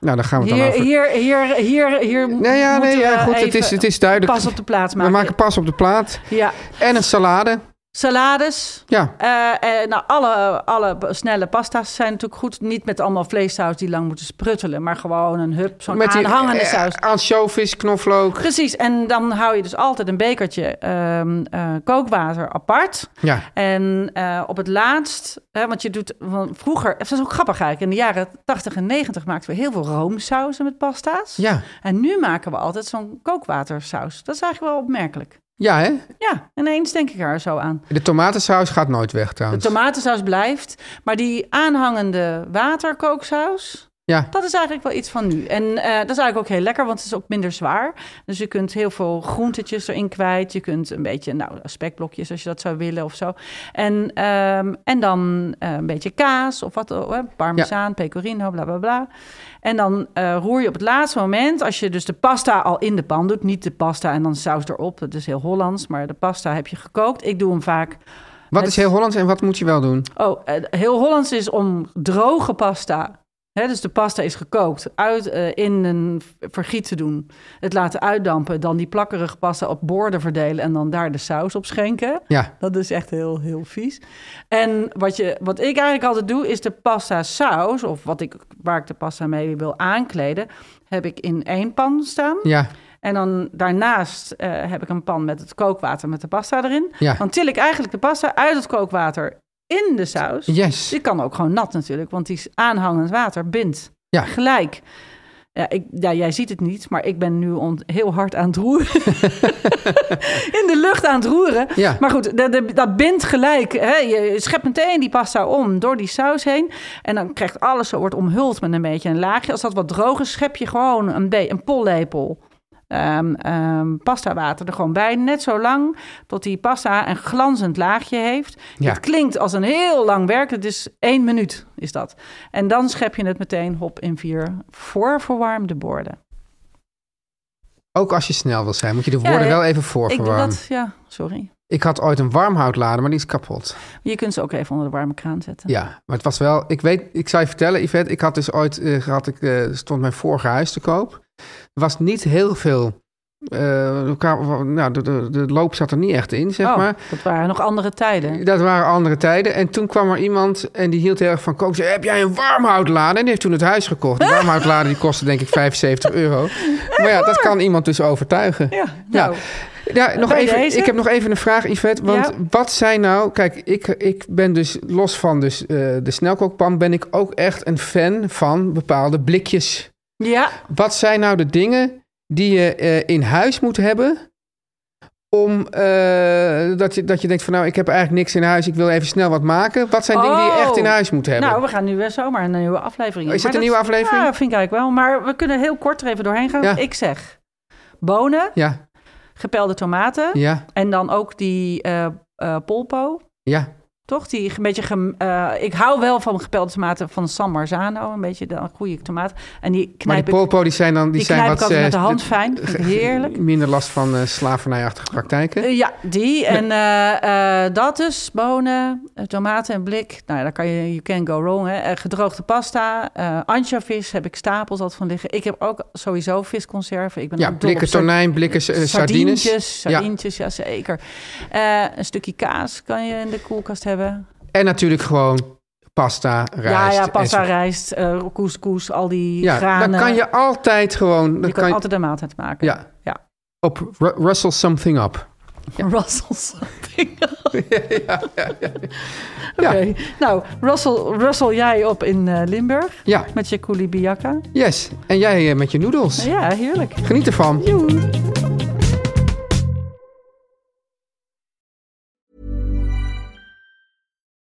[SPEAKER 3] nou, daar gaan we het
[SPEAKER 4] Hier,
[SPEAKER 3] dan over.
[SPEAKER 4] hier, hier, hier, hier.
[SPEAKER 3] nee, ja,
[SPEAKER 4] moeten
[SPEAKER 3] nee, ja,
[SPEAKER 4] we
[SPEAKER 3] goed, het
[SPEAKER 4] even
[SPEAKER 3] is, het is duidelijk.
[SPEAKER 4] Pas op de plaats
[SPEAKER 3] we
[SPEAKER 4] maken.
[SPEAKER 3] maken pas op de plaat.
[SPEAKER 4] Ja,
[SPEAKER 3] En een salade.
[SPEAKER 4] salades.
[SPEAKER 3] Ja,
[SPEAKER 4] Eh, eh, nou, alle, alle b- snelle pasta's zijn natuurlijk goed. Niet met allemaal vleessaus die lang moeten spruttelen, maar gewoon een hup, zo'n
[SPEAKER 3] met die
[SPEAKER 4] aanhangende
[SPEAKER 3] eh,
[SPEAKER 4] saus.
[SPEAKER 3] ansjovis, knoflook.
[SPEAKER 4] Precies, en dan hou je dus altijd een bekertje ehm, eh, kookwater apart.
[SPEAKER 3] Ja,
[SPEAKER 4] En eh, op het laatst, hè, want je doet want vroeger, dat is ook grappig eigenlijk, in de jaren 80 en 90 maakten we heel veel roomsausen met pasta's.
[SPEAKER 3] ja,
[SPEAKER 4] En nu maken we altijd zo'n kookwatersaus. Dat is eigenlijk wel opmerkelijk.
[SPEAKER 3] ja, hè?
[SPEAKER 4] Ja, ineens denk ik er zo aan.
[SPEAKER 3] De tomatensaus gaat nooit weg
[SPEAKER 4] De
[SPEAKER 3] trouwens.
[SPEAKER 4] tomatensaus blijft, maar die aanhangende waterkooksaus,
[SPEAKER 3] ja,
[SPEAKER 4] dat is eigenlijk wel iets van nu. En eh, dat is eigenlijk ook heel lekker, want het is ook minder zwaar. Dus je kunt heel veel groentetjes erin kwijt. Je kunt een beetje, nou, spekblokjes als je dat zou willen of zo. En, ehm, en dan eh, een beetje kaas of wat, eh, parmezaan, pecorino, bla bla bla. En dan eh, roer je op het laatste moment, als je dus de pasta al in de pan doet, niet de pasta en dan saus erop. Dat is heel Hollands, maar de pasta heb je gekookt. Ik doe hem vaak
[SPEAKER 3] wat
[SPEAKER 4] het-
[SPEAKER 3] is heel Hollands en wat moet je wel doen?
[SPEAKER 4] Oh, eh, heel Hollands is om droge pasta. Hè, dus de pasta is gekookt, uit, eh, in een vergiet te doen. Het laten uitdampen, dan die plakkerige pasta op borden verdelen en dan daar de saus op schenken.
[SPEAKER 3] Ja,
[SPEAKER 4] Dat is echt heel, heel vies. En wat, je, wat ik eigenlijk altijd doe, is de pasta saus, of wat ik, waar ik de pasta mee wil aankleden, heb ik in één pan staan.
[SPEAKER 3] ja,
[SPEAKER 4] En dan daarnaast eh, heb ik een pan met het kookwater met de pasta erin.
[SPEAKER 3] ja.
[SPEAKER 4] Dan til ik eigenlijk de pasta uit het kookwater in de saus.
[SPEAKER 3] Yes.
[SPEAKER 4] Die Dus kan ook gewoon nat natuurlijk, want die is aanhangend water bindt
[SPEAKER 3] Ja.
[SPEAKER 4] gelijk. Ja, ik, ja, jij ziet het niet, maar ik ben nu ont- heel hard aan het roeren. in de lucht aan het roeren.
[SPEAKER 3] Ja.
[SPEAKER 4] Maar goed, de- de- dat bindt gelijk. Hè? Je schept meteen die pasta om door die saus heen. En dan krijgt alles, zo wordt omhuld met een beetje een laagje. Als dat wat droog is, schep je gewoon een, be- een pollepel ehm ehm pasta water er gewoon bij. Net zo lang tot die pasta een glanzend laagje heeft.
[SPEAKER 3] Ja.
[SPEAKER 4] Het klinkt als een heel lang werk. Het is één minuut, is dat. En dan schep je het meteen hop in vier voorverwarmde borden.
[SPEAKER 3] Ook als je snel wil zijn, moet je de
[SPEAKER 4] Ja,
[SPEAKER 3] woorden
[SPEAKER 4] ja.
[SPEAKER 3] wel even
[SPEAKER 4] Ik doe
[SPEAKER 3] voorverwarmen. Ik,
[SPEAKER 4] dat, ja, sorry.
[SPEAKER 3] had ooit een warmhoutlader, maar die is kapot.
[SPEAKER 4] Je kunt ze ook even onder de warme kraan zetten.
[SPEAKER 3] Ja, maar het was wel... Ik weet, ik zou je vertellen, Yvette, ik had dus ooit... eh, gehad, ik, eh, stond mijn vorige huis te koop. Er was niet heel veel... eh, elkaar- nou, de, de, de loop zat er niet echt in, zeg
[SPEAKER 4] Oh,
[SPEAKER 3] maar.
[SPEAKER 4] dat waren nog andere tijden.
[SPEAKER 3] Dat waren andere tijden. En toen kwam er iemand en die hield heel erg van koken. Zei, heb jij een warmhoutlader? En die heeft toen het huis gekocht. Een warmhoutlader die kostte denk ik 75 euro. Maar ja, dat kan iemand dus overtuigen.
[SPEAKER 4] Ja,
[SPEAKER 3] Ja.
[SPEAKER 4] nou,
[SPEAKER 3] Ja, nog
[SPEAKER 4] Bij
[SPEAKER 3] even,
[SPEAKER 4] deze?
[SPEAKER 3] ik heb nog even een vraag, Yvette. Want
[SPEAKER 4] Ja.
[SPEAKER 3] wat zijn nou... Kijk, ik, ik ben dus los van dus, eh, de snelkookpan... ben ik ook echt een fan van bepaalde blikjes.
[SPEAKER 4] ja.
[SPEAKER 3] Wat zijn nou de dingen die je eh, in huis moet hebben... om eh, dat, je, dat je denkt van nou, ik heb eigenlijk niks in huis... ik wil even snel wat maken. Wat zijn dingen die je echt in
[SPEAKER 4] Oh.
[SPEAKER 3] huis moet hebben? Oh,
[SPEAKER 4] Nou, we gaan nu weer zomaar een nieuwe aflevering. in.
[SPEAKER 3] Is dit
[SPEAKER 4] Maar
[SPEAKER 3] een nieuwe aflevering?
[SPEAKER 4] Ja, vind ik eigenlijk wel. Maar we kunnen heel kort er even doorheen gaan.
[SPEAKER 3] Ja.
[SPEAKER 4] Ik zeg bonen,
[SPEAKER 3] Ja,
[SPEAKER 4] gepelde tomaten
[SPEAKER 3] ja,
[SPEAKER 4] en dan ook die eh, eh, polpo.
[SPEAKER 3] ja.
[SPEAKER 4] Toch? Die een beetje. gem- eh, ik hou wel van gepelde tomaten van San Marzano. Een beetje de goede tomaat. En die
[SPEAKER 3] Maar die
[SPEAKER 4] knijp ik,
[SPEAKER 3] polpo, die zijn dan... Die,
[SPEAKER 4] die
[SPEAKER 3] zijn
[SPEAKER 4] knijp
[SPEAKER 3] wat,
[SPEAKER 4] ik altijd met de
[SPEAKER 3] eh,
[SPEAKER 4] hand fijn. Vind ik heerlijk.
[SPEAKER 3] Minder last van eh slavernijachtige praktijken.
[SPEAKER 4] Eh, ja, die. En eh, eh, dat dus. Bonen, eh, tomaten en blik. Nou ja, daar kan je, you can go wrong. Hè. Eh, gedroogde pasta. eh anchovis heb ik stapels altijd van liggen. Ik heb ook sowieso visconserven. Ik ben
[SPEAKER 3] Ja,
[SPEAKER 4] ook dol op
[SPEAKER 3] blikken
[SPEAKER 4] sar-
[SPEAKER 3] tonijn, blikken eh, sardines.
[SPEAKER 4] Sardientjes, sardientjes, ja. zeker. Eh, een stukje kaas kan je in de koelkast hebben.
[SPEAKER 3] En natuurlijk gewoon pasta, rijst.
[SPEAKER 4] ja, ja, pasta,
[SPEAKER 3] en zo.
[SPEAKER 4] rijst, eh couscous, al die
[SPEAKER 3] Ja,
[SPEAKER 4] granen.
[SPEAKER 3] dan kan je altijd gewoon...
[SPEAKER 4] je
[SPEAKER 3] Dan
[SPEAKER 4] kan
[SPEAKER 3] kan je
[SPEAKER 4] altijd een maaltijd maken.
[SPEAKER 3] ja,
[SPEAKER 4] ja.
[SPEAKER 3] op Ru- Rustle Something Up.
[SPEAKER 4] Russell's.
[SPEAKER 3] Ja,
[SPEAKER 4] Oké. Nou, Russell, Russell, jij op in eh, Limburg
[SPEAKER 3] ja,
[SPEAKER 4] met je koulibiaka.
[SPEAKER 3] yes. En jij eh, met je noedels.
[SPEAKER 4] Ja, heerlijk.
[SPEAKER 3] Geniet ervan.